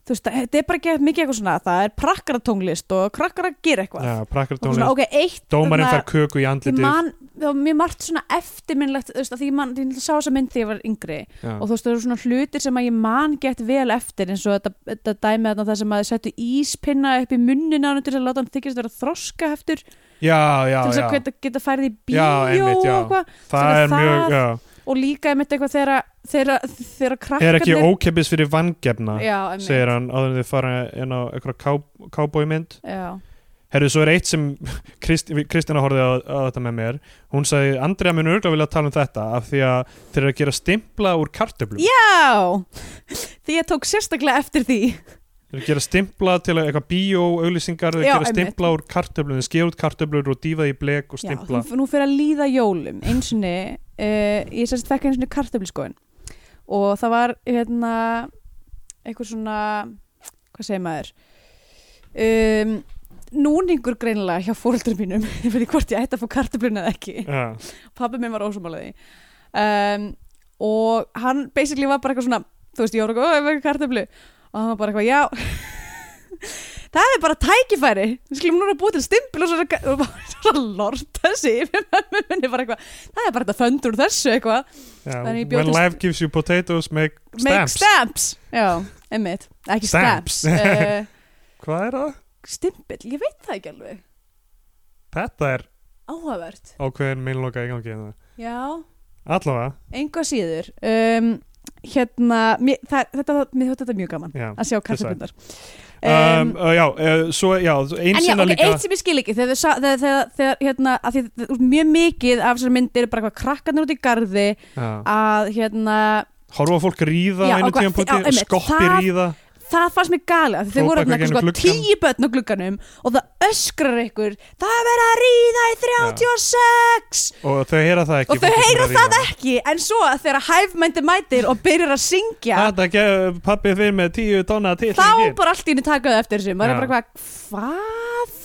þú veist, þetta er bara ekki mikið eitthvað svona, það er prakkaratónglist og krakkar að gera eitthvað já, prakkar og svona, tónlist ok, eitt dómarinn þarna- fær köku í Ég andlitið man, það var mjög margt svona eftirminnlegt þú veist, að því ég man, ég náttúrulega sá þessa mynd þegar ég var yngri já, og þú veist, það eru svona hlutir sem að ég man gett vel eftir eins og þetta, þetta dæmi þarna það sem að þið settu íspinna upp í munnina á honum til að láta hann þykist vera þroska heftur já, já, til þess að já. geta, geta færið í bíó Já, einmitt, já. og eitthvað það er það- mjög, já og líka einmitt eitthvað þegar að- þegar að- þegar að krakkarnir er ekki ókeppis fyrir vangefna Já, einmitt segir hann áður en þið fara inn á eitthvað cowboymynd Já, herru, svo er eitt sem Krist, Kristina horfið á, á þetta með mér hún sagði, Andrea mun örgulega vilja tala um þetta af því að þeir eru að gera stimpla úr kartöflum yeah. Já. því ég tók sérstaklega eftir því þeir eru að gera stimpla til að- eitthvað bíó, auglýsingar, þeir Já, eru að gera einmitt. stimpla úr kartöflum þeir skera út kartöflur og dýfa því í blek og Já, stimpla nú- nú fyrir að líða jólum einsinni, uh, ég sérst fekk einsinni kartöfliskoðin og það var hérna eitthvað svona hvað segir maður um, núningur greinilega hjá fóreldur mínum ég veit ekki hvort ég ætti að fá kartöfluna eða ekki já, pabbi minn var ósumálaði um, og hann basically var bara eitthvað svona þú veist, ég var eitthvað, "Ó, ég var eitthvað kartöflu og hann var bara eitthvað, já það er bara tækifæri við skulum núna búið til stimpil og svo, og alltaf lort þessi yfir mömmu minni bara eitthvað það er bara þetta föndur úr þessu eitthvað Já, Þannig ég bjó when til- life gives you potatoes make make stamps stamps já, emmitt, ekki Stamps. stamps, stamps. Uh, Hvað er það? stimpill, ég veit það ekki alveg Þetta er áhugavert, ákveðin meinloka í gangi hérna. já Allavega, enga síður um, hérna, mér, það, þetta, mér þótti þetta mjög gaman já að sjá kassabundar um, uh, Já, uh, svo, já, En já, einsina ok, líka eitt sem ég skil ekki þegar, þau sa- þegar, þegar, þegar hérna, að því, þ- úr mjög mikið af þessar myndir er bara hvað krakkarnir út í garði já. að hérna, Horfa á fólk ríða já, Já, einu og hvað- tíma já, punkti einmitt, Skoppi það- ríða það fannst mér gali af því þau Hrópa voru eitthvað þarna gegnum sko, gluggann. tíu börn á glugganum og það öskrar ykkur það er verið að ríða í 36 Og þau heyra það ekki og fólkið sem þau er heyra að það ríða. ekki en svo að þegar hæfmændi mætir og byrjar að syngja Þetta ekki pappið fyrir með tíu tonna til þá bara allt í henni takaðu eftir þessu maður Já. er bara hvað, hvað?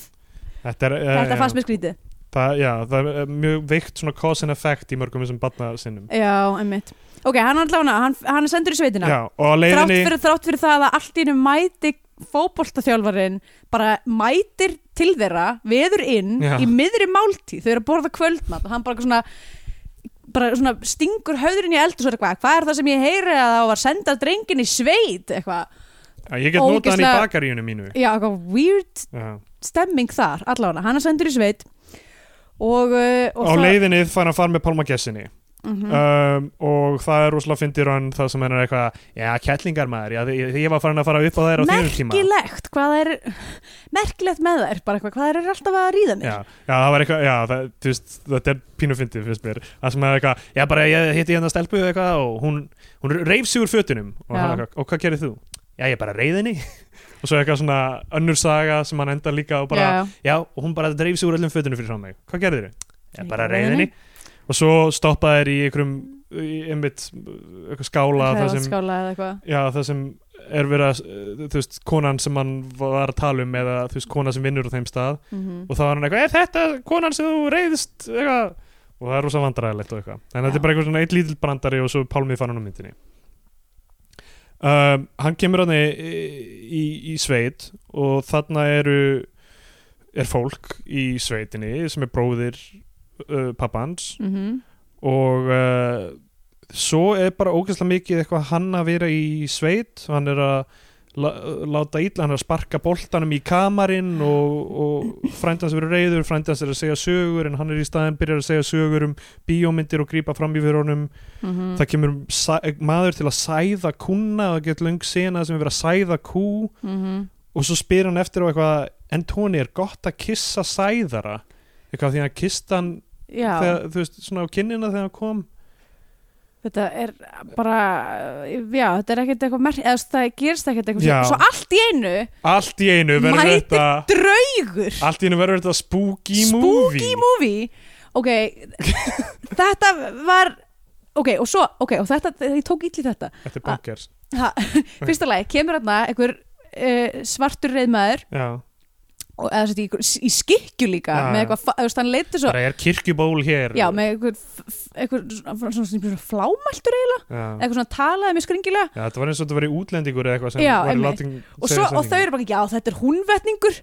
Þetta, er, uh, þetta fannst já, mér skrítið það, já, það er uh, mjög veikt svona cause and effect í mörgum þessum barnasinnum já, einmitt ok, hann er allavega, hann, hann er sendur í sveitina Já, og á þrátt, leiðinni fyrir, þrátt fyrir það að allt í henni mæti fótboltaþjálfarin bara mætir til þeirra veður inn Já. í miðri máltíð, þau eru að borða kvöldmat og hann bara eitthvað svona bara svona stingur höðurinn í eld og svo er eitthvað, hvað er það sem ég heyri að það var senda drengin í sveit eitthvað, Já, Ég get notað hann í ógeðslega- bakaríunum mínu já, eitthvað weird já. stemming þar, allavega, hann er sendur í sveit og, uh, og á það- leiðinni fær hann að fara með Palma Gessinni Mhm. um, og það er rosalega fyndir hann það sem hann er eitthvað já, kettlingar maður, já, ég, ég var farin að fara upp á þær á þínum tíma já, merkilegt hvað það er merkilegt með þær, bara eitthvað, hvað þær er alltaf að ríða mér já, það var eitthvað, já, það, þú veist, þetta er pínu fyndið fyrst mér, það sem hann er eitthvað já, bara ég hitti hérna stelpu eitthvað og hún, hún reif sig úr fötunum og, Já. hann er eitthvað, og hvað gerir þú? Já, ég bara reyðinni og svo eitthvað svona önnur saga sem hann endar líka og bara Já, já. Já, og hún bara dreif sig úr öllum fötunum fyrir frá mig Hvað gerðir þið? Já, Ég bara gerði reyðinni Og svo stoppaði þér í einhverjum í einmitt, eitthvað skála það sem, Hræðaskála eða eitthvað já, það sem er verið að, uh, þú veist, konan sem hann var að tala um eða, þú veist, kona sem vinnur á þeim stað mm og þá var hann eitthvað, er þetta konan sem þú reyðist eitthvað, og það er rosa vandræðilegt og eitthvað, en þetta Já. er bara eitthvað svona eitt lítill brandari og svo pálmið fann hann á myndinni um, hann kemur hann í, í, í sveit og þarna eru er fólk í sveitinni sem er bróðir uh, pappans Mhm. og uh, svo er bara ógeðslega mikið eitthvað hann að vera í sveit hann er að la- láta ítla hann er að sparka boltanum í kamarinn og, og frændans verið reyður frændans er að segja sögur en hann er í staðin byrjar að segja sögur um bíómyndir og grípa fram í fyrir honum Mhm. það kemur sæ- maður til að sæða kúna og það getur löng sena sem er verið að sæða kú Mhm. og svo spyr hann eftir á eitthvað en Tony er gott að kissa sæðara eitthvað því að hann kista hann Já, þegar, þú veist, svona á kinnina þegar hann kom þetta er bara Já, þetta er ekkert eitthvað merk eða það gerst ekkert eitthvað Já. Svo allt í einu, Allt í einu verður Mætir þetta draugur Allt í einu verður þetta spooky, Spooky movie movie Ok, þetta var Ok, og svo, ok, og þetta, ég tók illi þetta Þetta er bankers ha, Fyrsta lagi, kemur hérna einhver uh, svartur reyðmaður Já, og, eða sett í, í skikju líka Já, með já. eitthvað, fa- þú veist, hann leitur svo bara er kirkjuból hér Já, með eitthvað, eitthvað svona, svona, svona, svona flámæltur eiginlega, Já. eitthvað svona talaði með skringilega Já, þetta var eins og þetta var í útlendingur eða eitthvað sem Já, var einmitt. látin og, svo, og þau eru bara, já þetta er húnvetningur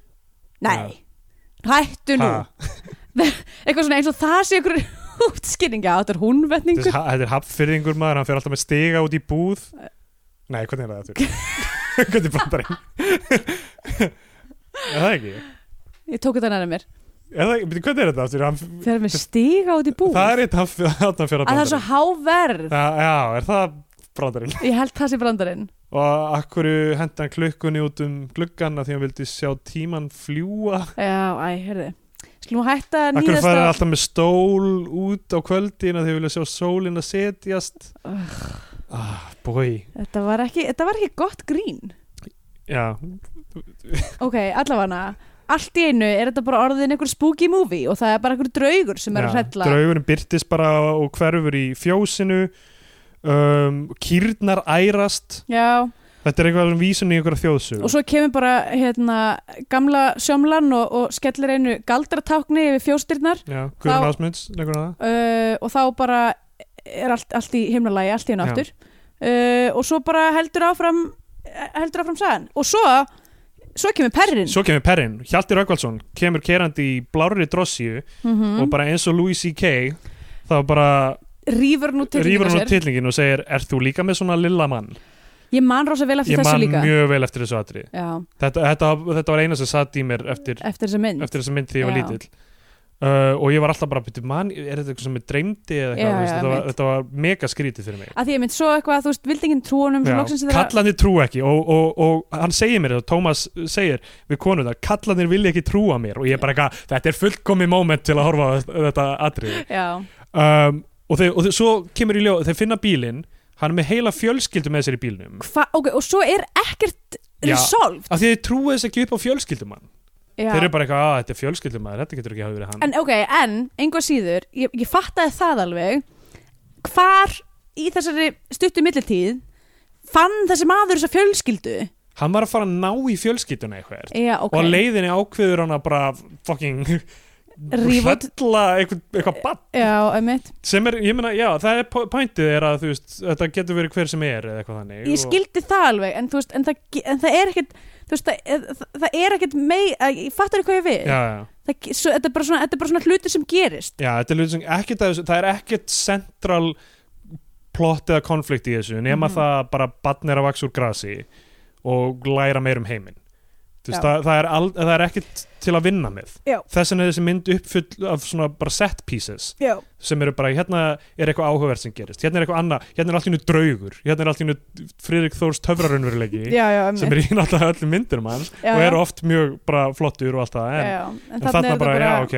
nei, hættu nú eitthvað svona eins og það sé ykkur útskynning, já þetta er húnvetningur Þetta er hafnfyrðingur maður, hann fer alltaf með stiga út í búð Nei, hvernig er það þetta? hvernig brandar einn? Er það ekki? ég tók þetta næra mér, Er það, ekki? Bíddu, hvernig er þetta aftur? Hann, þegar við stiga út í búð það er eitt hafnfjörða að það er brandarinn svo háverð Já, er það brandarinn? ég held það sé brandarinn og akkur henda hann klukkunni út um gluggan af því hann vildi sjá tíman fljúa já, æ, herði skulum hætta að akkur nýðast færi hann að- alltaf með stól út á kvöldin af því hann vilja sjá sólin að setjast Ugh, ah, boi þetta var ekki þetta var ekki gott grín já, Ok, allavega Allt í einu er þetta bara orðin einhver spooky movie og það er bara einhver draugur sem er já. að hrella draugurinn byrtist bara og hverfur í fjósinu um, kýrnar ærast Já, þetta er eitthvað um vísun í einhverja þjóðsug og svo kemur bara hérna, gamla sjómlan og, og skellir einu galdratákni yfir fjóstyrnar já, Þá- Guðrún Ásmunds, leikur hann uh, og þá bara er allt, allt í himnalagi, allt í einu Já. aftur uh, og svo bara heldur áfram heldur áfram sagan og svo svo kemur perrin Svo kemur Perrin, Hjalti Röggvaldsson kemur kerandi í blárri drossíu Mm. Mhm. og bara eins og Louis C.K. þá bara rýfur nú til rýfur hann á tillingin og segir Er þú líka með svona lilla mann? ég man rosa vel eftir Ég þessu man líka mjög vel eftir þessu atri já, þetta, þetta, þetta var eina sem satt í mér eftir, eftir þessu mynd eftir þessa mynd því ég var Já. lítill uh, og ég var alltaf bara, "Bíddu, man, er þetta eitthvað sem ég dreymdi eða eitthvað, þú Já, já, veist, þetta, var, einmitt. þetta var mega skrítið fyrir mig að því ég mynd svo eitthvað að þú veist vildingin trúanum Já, kallanir trú ekki og, og, og hann segir mér það, Tómas segir við konum það, kallanir vilja ekki trúa mér og ég er bara eitthvað, þetta er fullkomi moment til að horfa á þetta atrið já, um, og, þeir, og þeir, svo kemur í ljó þeir finna bílinn, hann er með heila fjölskyldu með sér í bílnum Hva, ok, og svo er ekkert Já. resolved af því þeir trúið þess ekki upp á fjölskyldumann já. þeir eru bara eitthvað, að þetta er fjölskyldumæður, þetta getur ekki hafa verið hann en ok, en einhvað síður, ég, ég fattaði það alveg hvar í þessari stuttu millitíð fann þessi maður þessa fjölskyldu hann var að fara að ná í fjölskylduna eitthvað já, ok, og á leiðinni ákveður hann að bara fucking Rífa út- hrælla eitthvað, eitthvað bann já, einmitt sem er, ég meina, já, það er pointið er að þú veist, þetta getur verið hver sem er eða eitthvað þannig ég skildi það alveg, en þú veist en það, ge- en það er ekkert þú veist, það, það, það er ekkert mei, að, ég fattar eitthvað ég og, við já, já, það, ge- svo, þetta, er bara svona, þetta er bara svona hluti sem gerist já, þetta er ljóðsum ekkert að þessu, það er ekkert central plott eða konflikt í þessu nema Mhm. það bara bann er að vaks úr grasi og læra meir um heiminn Þú veist, Já. það, það, er al, það er ekkert til að vinna með Já. þess vegna er þessi mynd uppfull af svona bara set pieces já, sem eru bara, hérna er eitthvað áhugavert sem gerist hérna er eitthvað annað, hérna er allt í nú draugur hérna er allt í nú Friðrik Þórs töfrarunveruleiki já, já, einmitt sem er í náttúrulega öllum myndunum hans Já, og já. eru oft mjög bara flottur og allt það já, en, já. en en þarna er bara, þetta já, ok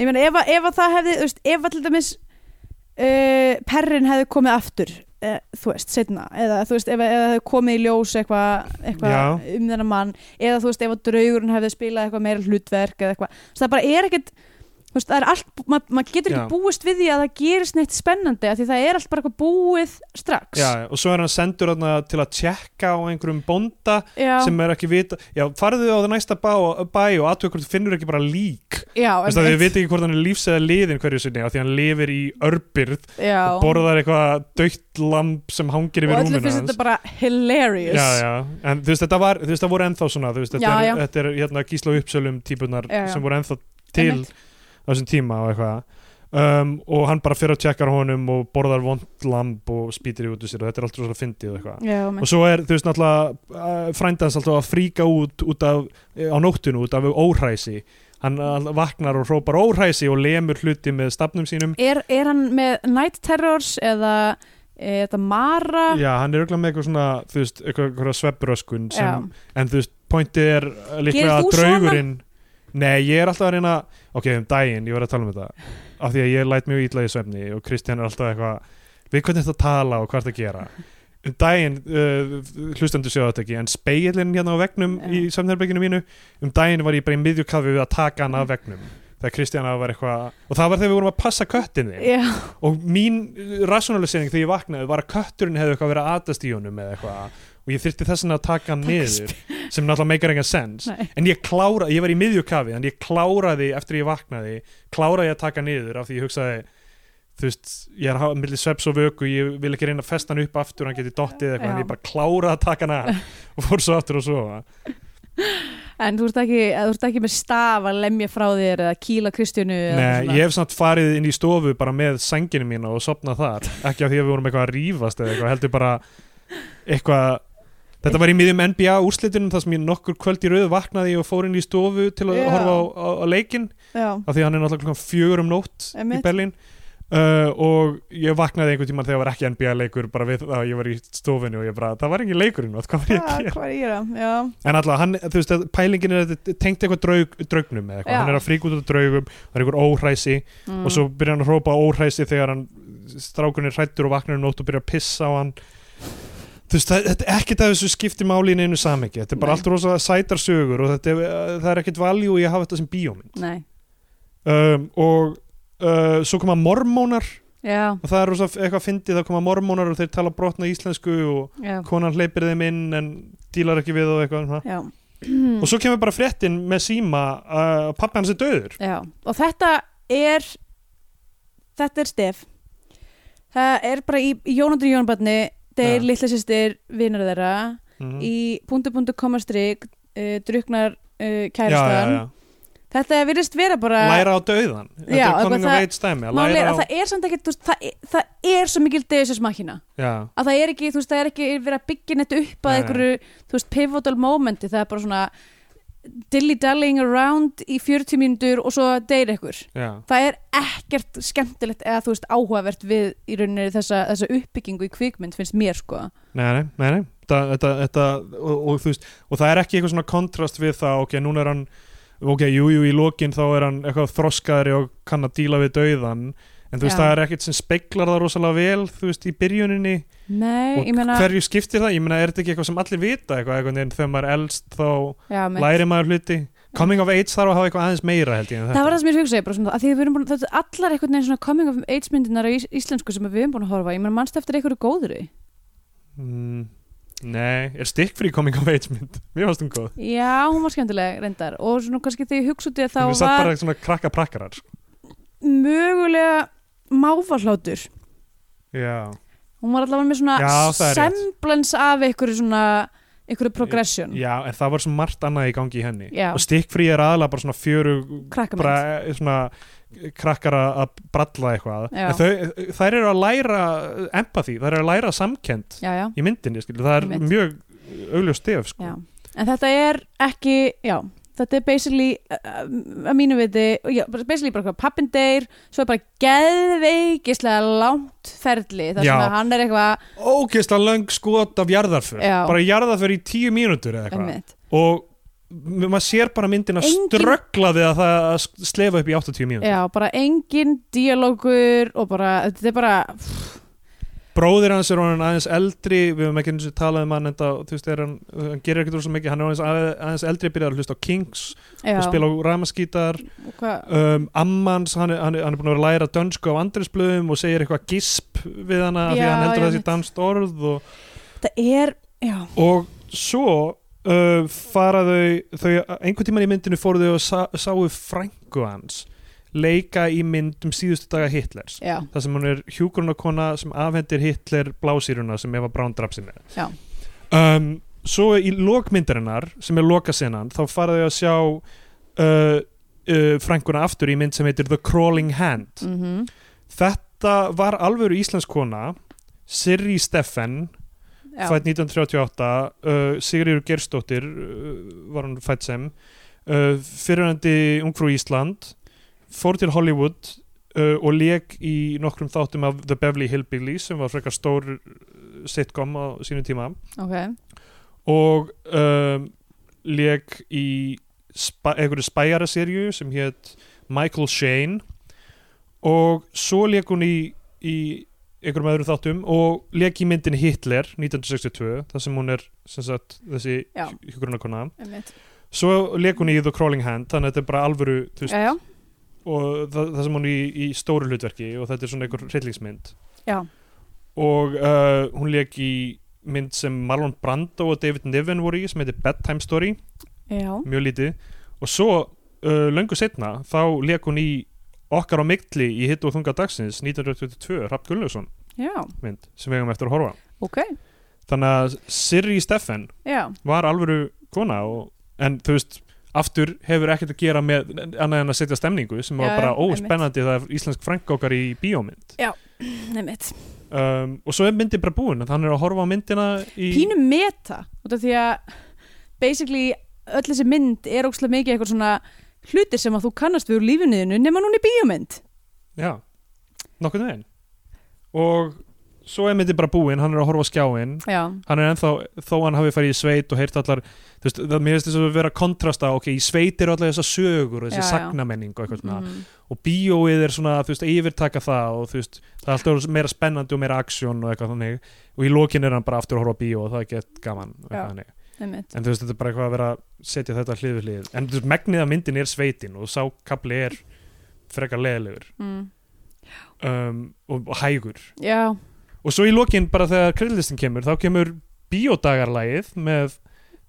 Ég meina, ef, að- ef að það hefði, þú veist, ef að til dæmis uh, perrin hefði komið aftur, uh, þú veist, setna, eða þú veist, ef, að- ef það hefði komið í ljós eitthvað eitthva Já. um þennan mann, eða þú veist, ef að draugurinn hefði spilað eitthvað meira hlutverk eða eitthvað, Þú veist, það bara er ekkert, þú veist, það er allt, ma- maður getur ekki Já. búist við því að það gerist neitt spennandi, af því það er allt bara eitthvað búið strax. já, og svo er hann sendur þarna til að tjekka á einhverjum bónda já, sem er ekki vita já, farðu á það næsta bæ, bæ og atveg hvort þú finnur ekki bara lík já, Þú veist að þið einmitt. veit ekki hvort hann er lífs eða liðin hverju sinni af því hann lifir í örbyrð já. og borðar eitthvað dögt lamp sem hangir og yfir allir rúminu finnst þetta bara hilarious. Já, já, en þú veist, þetta var, þú veist, það voru ennþá svona, þú veist, þetta, Já, er, já. þetta er hérna gísla og uppsölum típunar Já, já. sem voru ennþá til Einmitt. á þessum tíma og eitthvað um, og hann bara fyrir að tjekkar honum og borðar vond lamb og spýtir í út úr sér og þetta er alltaf svona fyndið og eitthvað Já, einmitt. og svo er, þú veist, náttúrulega uh, frændans alltaf að fríka út, út af, eh, á nóttinu út af óhræsi hann uh, vaknar og hrópar óhræsi og lemur hluti með stafnum sínum er, er hann með Night Terrors eða e, þetta Mara Já, hann er auðvitað með eitthvað svona, þú veist, eitthvað, eitthvað svefbröskun sem, Já. en þú veist, pointið er uh, líklega Gerir að þú draugurinn Nei, ég er alltaf að reyna Ok, um daginn, ég var að tala um þetta Af því að ég læt mjög ítla í svefni og Kristján er alltaf eitthvað Við hvernig þetta tala og hvað þetta gera Um daginn, uh, hlustendur séu þetta ekki En speilin hérna á vegnum Já. í svefnherberginu mínu Um daginn var ég bara í miðjukafi við að taka hann af vegnum Þegar Kristjana var eitthvað Og það var þegar við vorum að passa köttinni Já, og mín eh, rationalisering þegar ég vaknaði var að kötturinn hefði eitthvað verið aðdast í honum eða eitthvað og ég þyrfti þess vegna að taka hann niður sem náttúrulega meikar engan sens Nei. en ég kláraði, ég var í miðjukafi en ég kláraði eftir ég vaknaði kláraði ég að taka hann niður af því ég hugsaði þú veist, ég er að hafa millir sveps og vöku ég vil ekki reyna að festa hann upp aftur hann geti dottið eða eitthvað, Já. en ég bara kláraði að taka hann af og fór svo aftur og sofa en þú ert ekki, eða þú ert ekki með staf að lemja frá þér eða kýla Kristjánu Nei, ég hef samt farið inn í stofu bara með senginu mína og sopnað þar ekki af því að við vorum eitthvað að rífast eða eitthvað heldur bara eitthvað Þetta var í miðjum NBA úrslitunum þar sem ég nokkur kvöld í rauð vaknaði og fór inn í stofu til að Já. horfa á, á, á leikin Já, af því að hann er náttúrulega klukkan fjögur um nótt Einmitt. í Berlín uh, og ég vaknaði einhvern tímann þegar var ekki NBA leikur bara við það að ég var í stofinu og ég bara, það var engin leikurinn, hvað var ég að Ah, gera? hvað er ég að gera? Já, En alltaf, hann, þú veist, að pælingin er að þetta er tengt eitthvað draug, draugnum eða eitthvað, Já. hann er að fríka út á draugum, það er einhver óhræsi Mm. og svo byrjar hann að hrópa óhræsi þegar hann, strákurinn er hrættur og vaknar um nótt og byrjar að pissa á hann. Þú veist, það, þetta er ekkert að þessu skipti máli í neinu samhengi, þetta er bara Nei. allt rosa sætar sögur og þetta er, það er ekkert valjú í að hafa þetta sem bíómynd. nei Um, og uh, svo koma mormónar Já, og það er rosa eitthvað fyndið, það koma mormónar og þeir tala brotna íslensku og já, konan hleypir þeim inn en dílar ekki við og eitthvað. svona. já og svo kemur bara fréttin með síma að uh, pappi hans er döður Já, og þetta er þetta er stef það er bara í, í Jónandur Jónbarni þeir Já. litla sýstir vinnur þeirra mm í punktu punktu komastrik uh, druknar uh, já, já, kærastan já. þetta virðist vera bara læra á dauðan þetta Já, er eitthvað coming of það- age dæmi að Máli, er læra að á, það er samt ekki, þú veist, það, er- það er svo mikil deus eins makkina já, að það er ekki, þú veist, það er ekki verið að byggja neitt upp að Nei, nei. einhverju, þú veist, pivotal momenti það er bara svona dilly-dallying around í 40 mínútur og svo deyr ykkur já, það er ekkert skemmtilegt eða þú veist áhugavert við í rauninni þessa, þessa uppbyggingu í kvikmynd finnst mér sko nei, nei, nei, nei. Þetta, þetta, þetta, og, og, þú veist, og það er ekki eitthvað svona kontrast við það ok, núna er hann ok, jú, jú, í lokin þá er hann eitthvað þroskaðri og kann að díla við dauðan en þú veist, Já. það er ekkert sem speiklar það rosalega vel þú veist, í byrjuninni Nei, og ég meina hverju skiptir það, ég meina, er þetta ekki eitthvað sem allir vita eitthvað, eitthvað, en þegar maður er elst þá já, með- læri maður hluti coming of age þarf að hafa eitthvað aðeins meira held ég en Það þetta. var það sem ég hugsaði, bara svona, að því við erum búin, þetta er allar einhvern veginn svona coming of age myndinar á ís, íslensku sem við erum búin að horfa, á. ég meina mannst eftir einhverju góðri. mm, nei, er stikkfrí coming of age mynd mér fannst hún góð Já, hún var skemmtileg reyndar og svona kannski þegar ég hugsa út í að þá Hún er satt var bara svona krakka prakkarar sko. mögulega máfahlátur. Já, Hún var allavega með Já, það svona er rétt. semblans af einhverju svona, einhverju progression. já, en það var svo margt annað í gangi í henni Já. Og stikkfrí er aðalega bara svona fjöru Krakkamynd. bra, eh, svona krakkar að- að bralla eitthvað Já. En þau, þær eru að læra empathy, þær eru að læra samkend Já, já, í myndinni, skilur, það er Einmitt. mjög augljóð stef, sko já. En þetta er ekki, já, þetta er basically, uh, um, að mínu viti, já, bara basically bara hvað pappin deyr, svo er bara geðveikislega langt ferli, þar Já. sem að hann er eitthvað Ógeðslega löng skot af jarðarför Já. bara jarðarför í tíu mínútur eða eitthvað Einmitt. og m- maður sér bara myndina Engin- ströggla við að það að slefa upp í 80 mínútur Já, bara engin díalógur og bara, þetta er bara bróðir hans er orðin aðeins eldri við höfum ekki eins og talað um hann enda, þú veist, er hann, hann gerir ekkert úr svo mikið hann er aðeins, aðeins eldri, byrjar að hlusta á Kings já, og spila á ramaskítar og hvað- um, ammans, hann, er- hann, er- hann er búin að vera að læra dönsku á andrisblöðum og segir eitthvað gisp við hana, því Já, að hann heldur já, þessi mitt. danst orð og, þetta er, já, og svo uh, fara þau, þau einhvern tíman í myndinu fóru þau og sá, sáu frængu hans leika í myndum síðustu daga Hitlers já, þar sem hún er hjúgrunarkona sem afhendir Hitler blásýruna sem Eva Braun draf sinni Já. um, svo í lokmyndarinnar sem er lokasinnan þá fara þau að sjá uh, uh, frænguna aftur í mynd sem heitir The Crawling Hand mhm þetta var alvöru íslensk kona Sirri Steffen já, fætt 1938 uh, Sigriður Gerstóttir uh, var hann fætt sem uh, fyrirandi ungfrú Ísland fór til Hollywood uh, og leik í nokkrum þáttum af The Beverly Hillbillies sem var frekar stór uh, sitcom á sínum tíma ok, og um, leik í spa, einhverju spæjaraserju sem hétt Michael Shane og svo leik hún í, í einhverjum öðrum þáttum og leik í myndin Hitler 1962 þar sem hún er sem sagt, þessi Já. hjúkurunarkona einmitt svo leik hún í The Crawling Hand þannig að þetta er bara alvöru þú veist, já, já, og það, það sem hún er í, í stóru hlutverki og þetta er svona einhver hryllingsmynd já, og uh, hún leik í mynd sem Marlon Brando og David Niven voru í sem heitir Bedtime Story, já mjög lítið og svo uh, löngu setna þá leik hún í Okkar á Migtli í hitt og þunga dagsins 1922, Rapp Gullnason já, mynd sem við hefum eftir að horfa á. ok, þannig að Sirri Steffen já var alvöru kona og, en þú veist, aftur hefur ekkert að gera með annað en að setja stemningu sem Já, var bara já, einmitt. óspennandi það er íslensk frængokkar í bíómynd einmitt, um, og svo er myndin bara búin þannig er að horfa á myndina í pínu meta út af því að basically öll þessi mynd er ókslega mikið eitthvað svona hlutir sem að þú kannast við úr lífinuðinu nema núna í bíómynd Já, nokkurn veginn Og svo er myndin bara búinn, hann er að horfa á skjáinn já, Hann er ennþá, þó hann hafi farið í sveit og heyrt allar þú veist, það mér finnst þess að vera að kontrasta ok, í sveit eru allar þessar sögur og þessi Já, já. sagnamenning og eitthvað svona mm, og bíóið er svona, þú veist, að yfirtaka það og þú veist, það er alltaf meira spennandi og meira aksjón og eitthvað þannig og í lokin er hann bara aftur að horfa á bíó og það er gett gaman og Já. eitthvað þannig einmitt en þú veist, þetta er bara eitthvað að vera að setja þetta hlið við hlið en þú veist, megnið af myndin er sveitin og sákabli er frekar leðilegur mm. um, og, og hægur já, og svo í lokin bara þegar kreditlistin kemur þá kemur bíódagarlægið með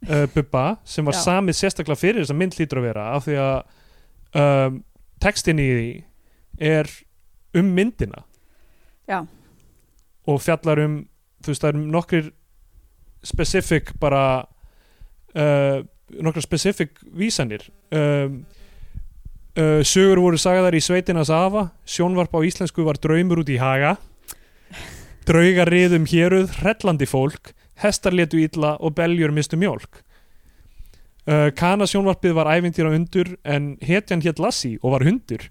uh, Bubba sem var Já. samið sérstaklega fyrir þess að mynd lítur að vera af því að um, textin í því er um myndina Já. og fjallar um þú veist það er nokkrir specific bara uh, nokkra specific vísanir um, uh, sögur voru sagðar í sveitinans afa sjónvarp á íslensku var draumur út í haga draugar riðum héruð hrellandi fólk hestar letu illa og beljur mistu mjólk Uh, Kana sjónvarpið var ævintýra undur en hetjan hétt Lassi og var hundur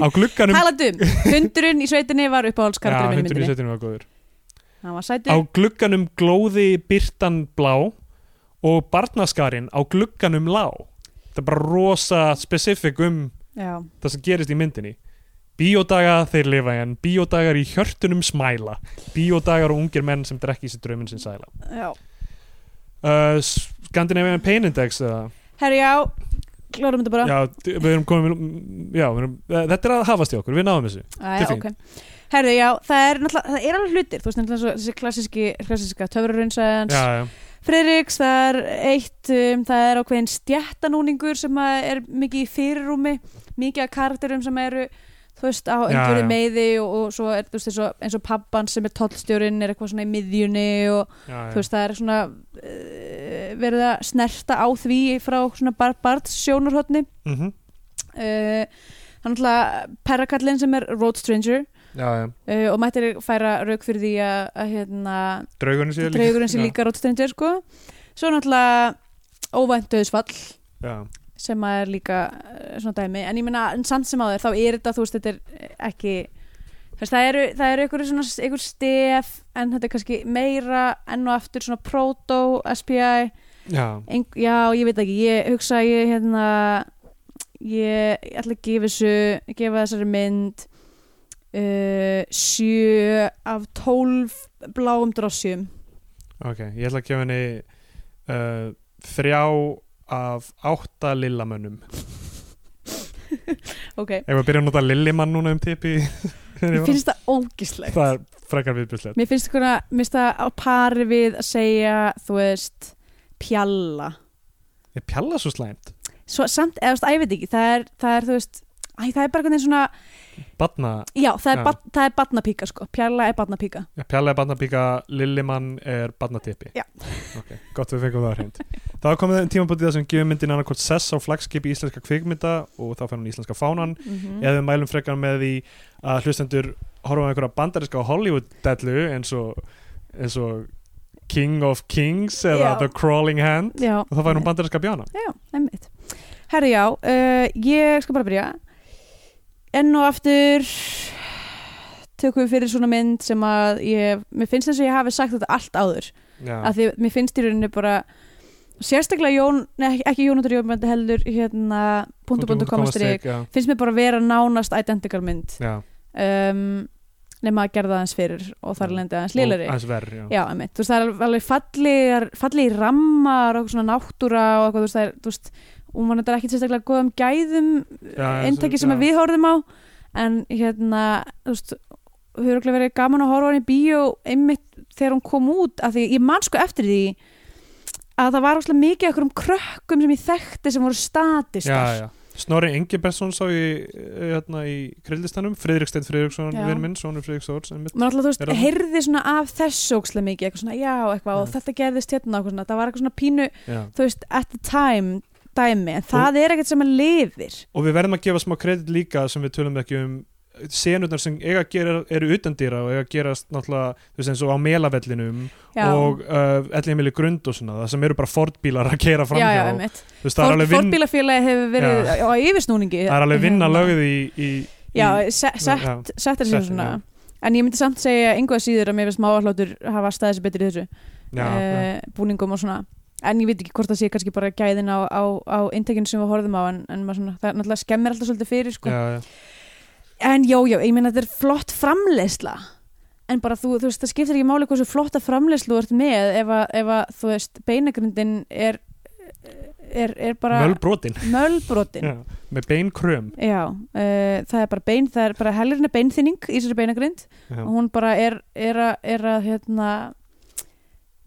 á glugganum Talandi um, hundurinn í sveitinni var uppáhaldskartur minn í hundurinn í myndinni setinu var góður Hann á var sætur, glugganum glóði byrtan blá og barnaskarinn á glugganum lá það er bara rosa spesifik um já, það sem gerist í myndinni bíódaga þeir lifa en bíódagar í hjörtunum smæla bíódagar og ungir menn sem drekki sér draumin sinn sæla já uh, Scandinavian Pain Index eða Herri, já, klárum þetta bara Já, d- við erum komin já, við erum, eh, þetta er að hafast í okkur, við náðum þessu Æja, Til ok. Herðu, já, það er náttúrulega, það er alveg hlutir, þú veist, náttúrulega svo- þessi klassíski, klassíska töfrarunnsæðans, já, já, Friðriks, það er eitt, um, það er ákveðin stjættanúningur sem að er mikið í fyrirrúmi, mikið af karakterum sem eru, þú veist, á Já, einhverju já. meiði og, og svo er, þú veist, eins og, eins og pabban sem er tollstjórinn er eitthvað svona í miðjunni og já, já. þú veist, það er svona uh, verið að snerta á því frá svona bar, barns sjónurhotni. Mhm. Uh, hann alltaf perrakallin sem er Road Stranger já, já. uh, og mættir færa rauk fyrir því að, að hérna, draugurinn sér líka draugurinn sé Já, líka rótstrendur sko. svo náttúrulega óvænt döðsfall já, sem að er líka eh, svona dæmi en ég meina, en samt sem áður, þá er þetta þú veist, þetta er eh, ekki þú veist, það eru, það eru einhverju svona einhver stef, en þetta er kannski meira enn og aftur svona proto SPI, já. Ein, já, ég veit ekki, ég hugsa að ég hérna ég ætla að gefa þessu gefa þessari mynd uh, sjö af tólf bláum drossjum Ok, ég ætla að gefa henni uh, þrjá af átta lillamönnum ok, Ef við byrjum að nota lillimann núna um tipi mér finnst það ógislegt Það er frekar viðbjörnslegt mér finnst það, mér finnst það á pari við að segja, þú veist pjalla, Er pjalla svo slæmt? svo samt, eða þú veist, æ, ég veit ekki það er, það er, þú veist, æ, það er bara hvernig svona, Batna, já, það er, Já. ja. það er barnapíka, sko, pjalla er barnapíka ja, pjalla er batnapíka, lillimann er batnatipi Já. Ok, gott við fengum það hreint Það var komið tímabótið það sem gefur myndin annarkvort sess á flagskipi íslenska kvikmynda og þá fær hún íslenska fánan mm eða við mælum frekar með því að hlustendur horfa á einhverja bandariska Hollywood-dellu eins og, eins og King of Kings eða Já. The Crawling Hand já, og þá fær hún bandariska bjána Já, einmitt. Herri, já, uh, ég skal bara byrja. Enn og aftur tökum við fyrir svona mynd sem að ég, mér finnst eins og ég hafi sagt þetta allt áður. Já, Af því mér finnst í rauninni bara, sérstaklega Jón, nei, ekki- ekki Jónundur Jón, menn heldur hérna, punktu, punktu, komastrik, já, finnst mér bara vera nánast identical mynd. já, Um, nema að gerða aðeins fyrir og þar lendi aðeins og lélæri. aðeins verð, já, Já, einmitt, þú veist, það er alveg fallegar, fallegi rammar og eitthvað svona náttúra og eitthvað, þú veist, það er, þú veist, og mann er ekki sérstaklega góðum gæðum já eintaki sem að við horfðum á, en hérna, þú veist, hefur okkur verið gaman að horfa á hann í bíó einmitt þegar hún kom út, af því ég man sko eftir því að það var óslega mikið okkur um krökkum sem ég þekkti sem voru statistar. já, já. Snorri Engibesson sá í, eh, hérna, í krillistanum, Friðrik Steinn Friðriksson Já. vinn minn, Sónur Friðriksórs einmitt. maður alltaf, þú Er veist, það- heyrði svona af þessu ókslega mikið, eitthvað svona, já, eitthvað, og Já. þetta gerðist hérna, og eitthvað svona, það var eitthvað svona pínu Já. þú veist, at the time dæmi, en það er ekkert sem að lifir og við verðum að gefa smá kredit líka sem við tölum ekki um senurnar sem eiga að gera eru utandýra og eiga að gerast náttúrulega þú veist eins og á melavellinum já, og uh, allir heimili grund og svona það sem eru bara fordbílar að keira já, já, framhjá einmitt þú veist það er Fór, alveg, vin, fórbílafélagi hefur verið á yfirsnúningi það er alveg vinna Hérna. lögð í, í, í já, se- sett, já, sett er sem settin, svona já. en ég myndi samt segja einhvað síður að mér finnst máallótur hafa staðið sér betur í þessu já, já, eh, búningum og svona en ég veit ekki hvort það sé kannski bara gæðin á, á, á inntekinu sem við horfðum á en, en maður svona, það náttúrulega skemmir alltaf svolítið fyrir sko. já, já. en já, já, ég meina þetta er flott framleiðsla en bara þú, þú veist, það skiptir ekki máli hversu flotta framleiðslu þú ert með ef að, ef að þú veist, beinagrindin er er, er bara mölbrotin mölbrotin já, já, með beinkröm uh, það er bara bein, það er bara helirna beinþinning í þessari beinagrind já, og hún bara er, er, að, er að hérna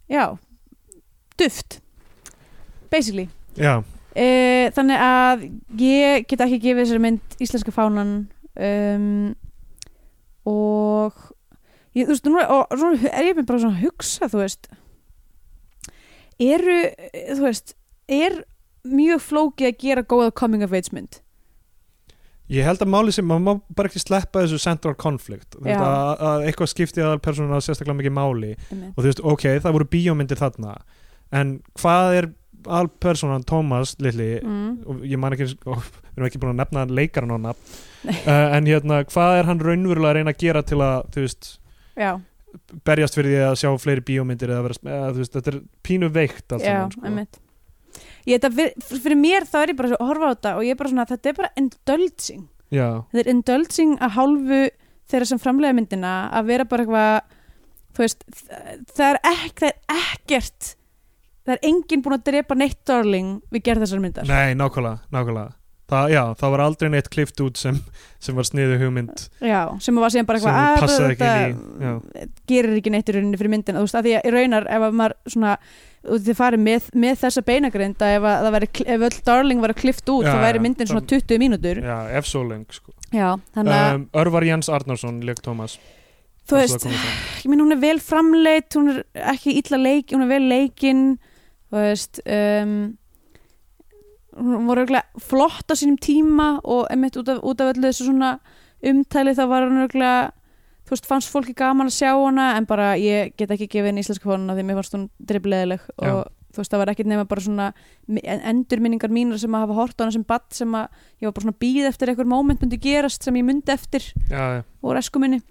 já, duft basically já, Uh, þannig að ég get ekki gefið þessari mynd íslenska fánan um, og ég, þú veist, nú er, og, nú er ég bara svona að hugsa, þú veist eru, eh, þú veist er mjög flókið að gera góða coming of age mynd Ég held að máli sem, maður má bara ekki sleppa þessu central conflict Þú veist, Já. að, að eitthvað skipti aðal persónuna sérstaklega mikið máli og þú veist, ok, það voru bíómyndir þarna en hvað er aðal persónan Thomas Lilli mm. og ég man ekki, ó, við erum ekki búin að nefna leikaran og nafn uh, en hérna, hvað er hann raunverulega að reyna að gera til að, þú veist, Já, berjast fyrir því að sjá fleiri bíómyndir eða vera, eða, þú veist, þetta er pínu veikt allt já, saman, sko. einmitt Ég, þetta, fyr- fyrir mér þá er ég bara svo að horfa á þetta og ég er bara svona, þetta er bara indulging sko. já, þetta er indulging að hálfu þeirra sem framlega myndina að vera bara eitthvað þú veist, þ- það er, ek, það er ekkert það er enginn búin að drepa neitt darling við gerð þessar myndar nei, nákvæmlega, nákvæmlega Það, já, það var aldrei neitt klift út sem, sem var sniðu hugmynd já, sem var síðan bara Sem hún eitthvað "Ah, passaði að ekki inn í, já. gerir ekki neitt í rauninni fyrir myndina þú veist, að því að í raunar ef að maður svona og þið farið með, með þessa beinagrind að ef, að það væri, kl- ef öll darling var að klift út Já, þá já, væri myndin svona það- 20 mínútur já, ef svo leng sko. já, þannig að um, Örvar Jens Arnarsson leik Thomas þú veist, ég minn hún er vel framleitt hún er ekki illa leik hún er vel leikinn þú veist um, hún voru örugglega flott á sínum tíma og emitt út af, út af öllu þessu svona umtæli þá var hún örugglega þú veist, fannst fólki gaman að sjá hana en bara ég get ekki gefið henni íslensku konuna því mér fannst hún dribleðileg og Já. þú veist, það var ekkert nema bara svona mi- en- endurminningar mínar sem að hafa hort á hana sem badd sem að ég var bara svona býð eftir eitthvað moment myndi gerast sem ég myndi eftir já, úr eskuminni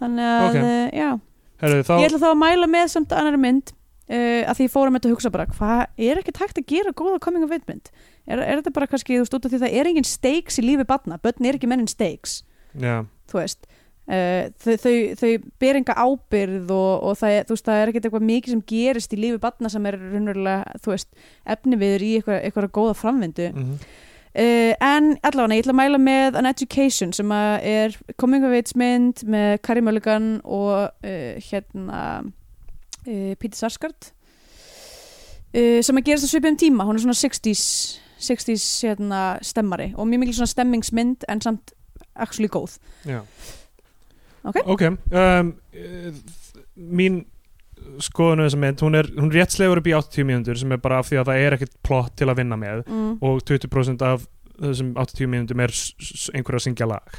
þannig að, Ok. okay. já herru, þá, ég ætla þá að mæla með samt annari mynd uh, að því ég fórum þetta að hugsa bara hvað er ekkert hægt að gera góða coming of age mynd er, er þetta bara kannski, þú veist, út af því það er engin stakes í lífi batna, börn er ekki mennin stakes já, þú veist uh, þau, þau, þau ber enga ábyrð og, og það, er- þú veist, það er ekkert eitthvað mikið sem gerist í lífi batna sem er raunverulega, þú veist, efniviður í eitthvað, eitthvað góða framvindu mhm. Uh, en allavega, ég ætla að mæla með An Education sem að er coming of age mynd með Kari Mulligan og uh, hérna uh, Pítur Sarsgaard uh, sem að gerast á svipum tíma hún er svona 60s, 60s hérna, stemmari og mjög mikil svona stemmingsmynd en samt actually góð Já. Ok. um, eh, mín skoðun á þessa mynd, hún er, hún rétt slegur upp í 80 mínútur sem er bara af því að það er ekkert plott til að vinna með mm. og 20% af þessum 80 mínútum er s- s- einhver að syngja lag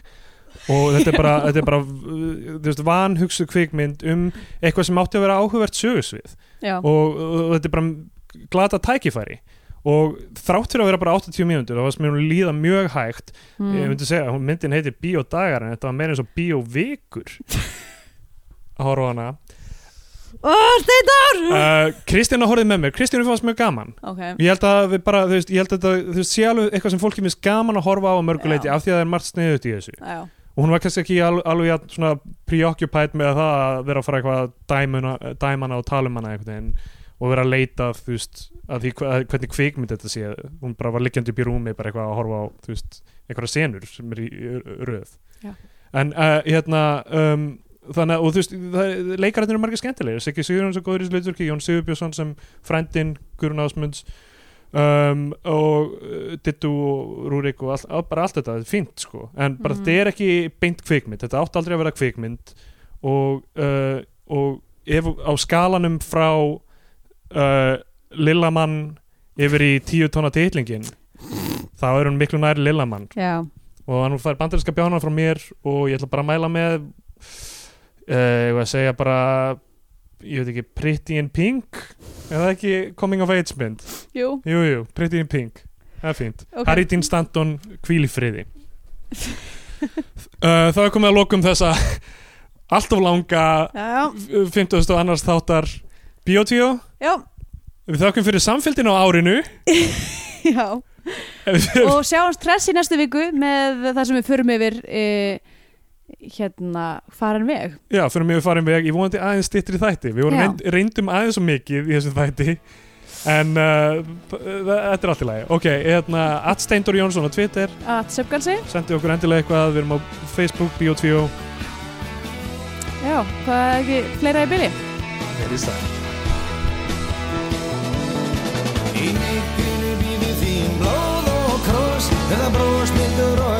og þetta er bara, þetta er bara uh, þú veist, vanhugsu kvikmynd um eitthvað sem átti að vera áhugavert sögusvið Já, og, og þetta er bara glata tækifæri og þrátt fyrir að vera bara 80 mínútur þá varst mér hún líða mjög hægt Mm. Ég myndi segja, hún myndin heitir Bíódagar en þetta var meira eins og Bíóvikur að horfa á hana oh, Steinar! uh, Kristjana horfið með mér, Kristjana fannst mjög gaman ok, ég held að við bara, þú veist, ég held að þetta þú veist, sé alveg eitthvað sem fólki finnst gaman að horfa á að mörgu Já. leiti af því að það er margt sniðut í þessu já, og hún var kannski ekki al, alveg jafn svona preoccupied með það að vera að fara eitthvað að dæmuna, dæmana og tala um hana einhvern veginn og vera að leita að, þú veist, að því hva- að hvernig kvikmynd þetta sé hún bara var liggjandi upp í rúmi bara eitthvað að horfa á þú veist, einhverja senur sem er í í- röð Já. en uh, hérna um, þannig að, og þú veist, það- leikararnir eru margir skemmtilegir Siggi Sigurjóns og Góðuris Lutverki, Jón Sigurbjörnsson sem frændin Guðrún Ásmunds um, og uh, Dittu og Rúrik og all, all, bara allt þetta, þetta er fínt sko en bara Mhm. þetta er ekki beint kvikmynd þetta átti aldrei að vera kvikmynd og, uh, og ef, á skalanum frá uh, Lillamann yfir í tíu tóna titlingin þá er hún miklu nær Lillamann já og hann fær bandarinska bjána frá mér og ég ætla bara að mæla með uh, ég var að segja bara ég veit ekki, Pretty in Pink er það ekki Coming of Age mynd Jú, jú, jú, Pretty in Pink, það er fínt ok Harry Dean Stanton, hvíl í friði uh, þá er komið að lokum þessa alltof langa Já, 50. og annars þáttar Biotíó, já, við þakkum fyrir samfélgin á árinu já og sjáumst hress í næstu viku með það sem við förum yfir e, hérna farin veg Já, fyrir mig við farin veg, ég vonandi aðeins styttri þætti Við vorum Já. reynd, reyndum aðeins svo mikið í þessum þætti En uh, þa- þetta er allt í lagi Ok, hérna, Atsteindur Jónsson á Twitter að söpgalsi, Sendi okkur endilega eitthvað, við erum á Facebook, Bio2 já, hvað er ekki fleira í byrji? Verið sæl Í mikilvífi þín blóð og kross eða bros, myndur og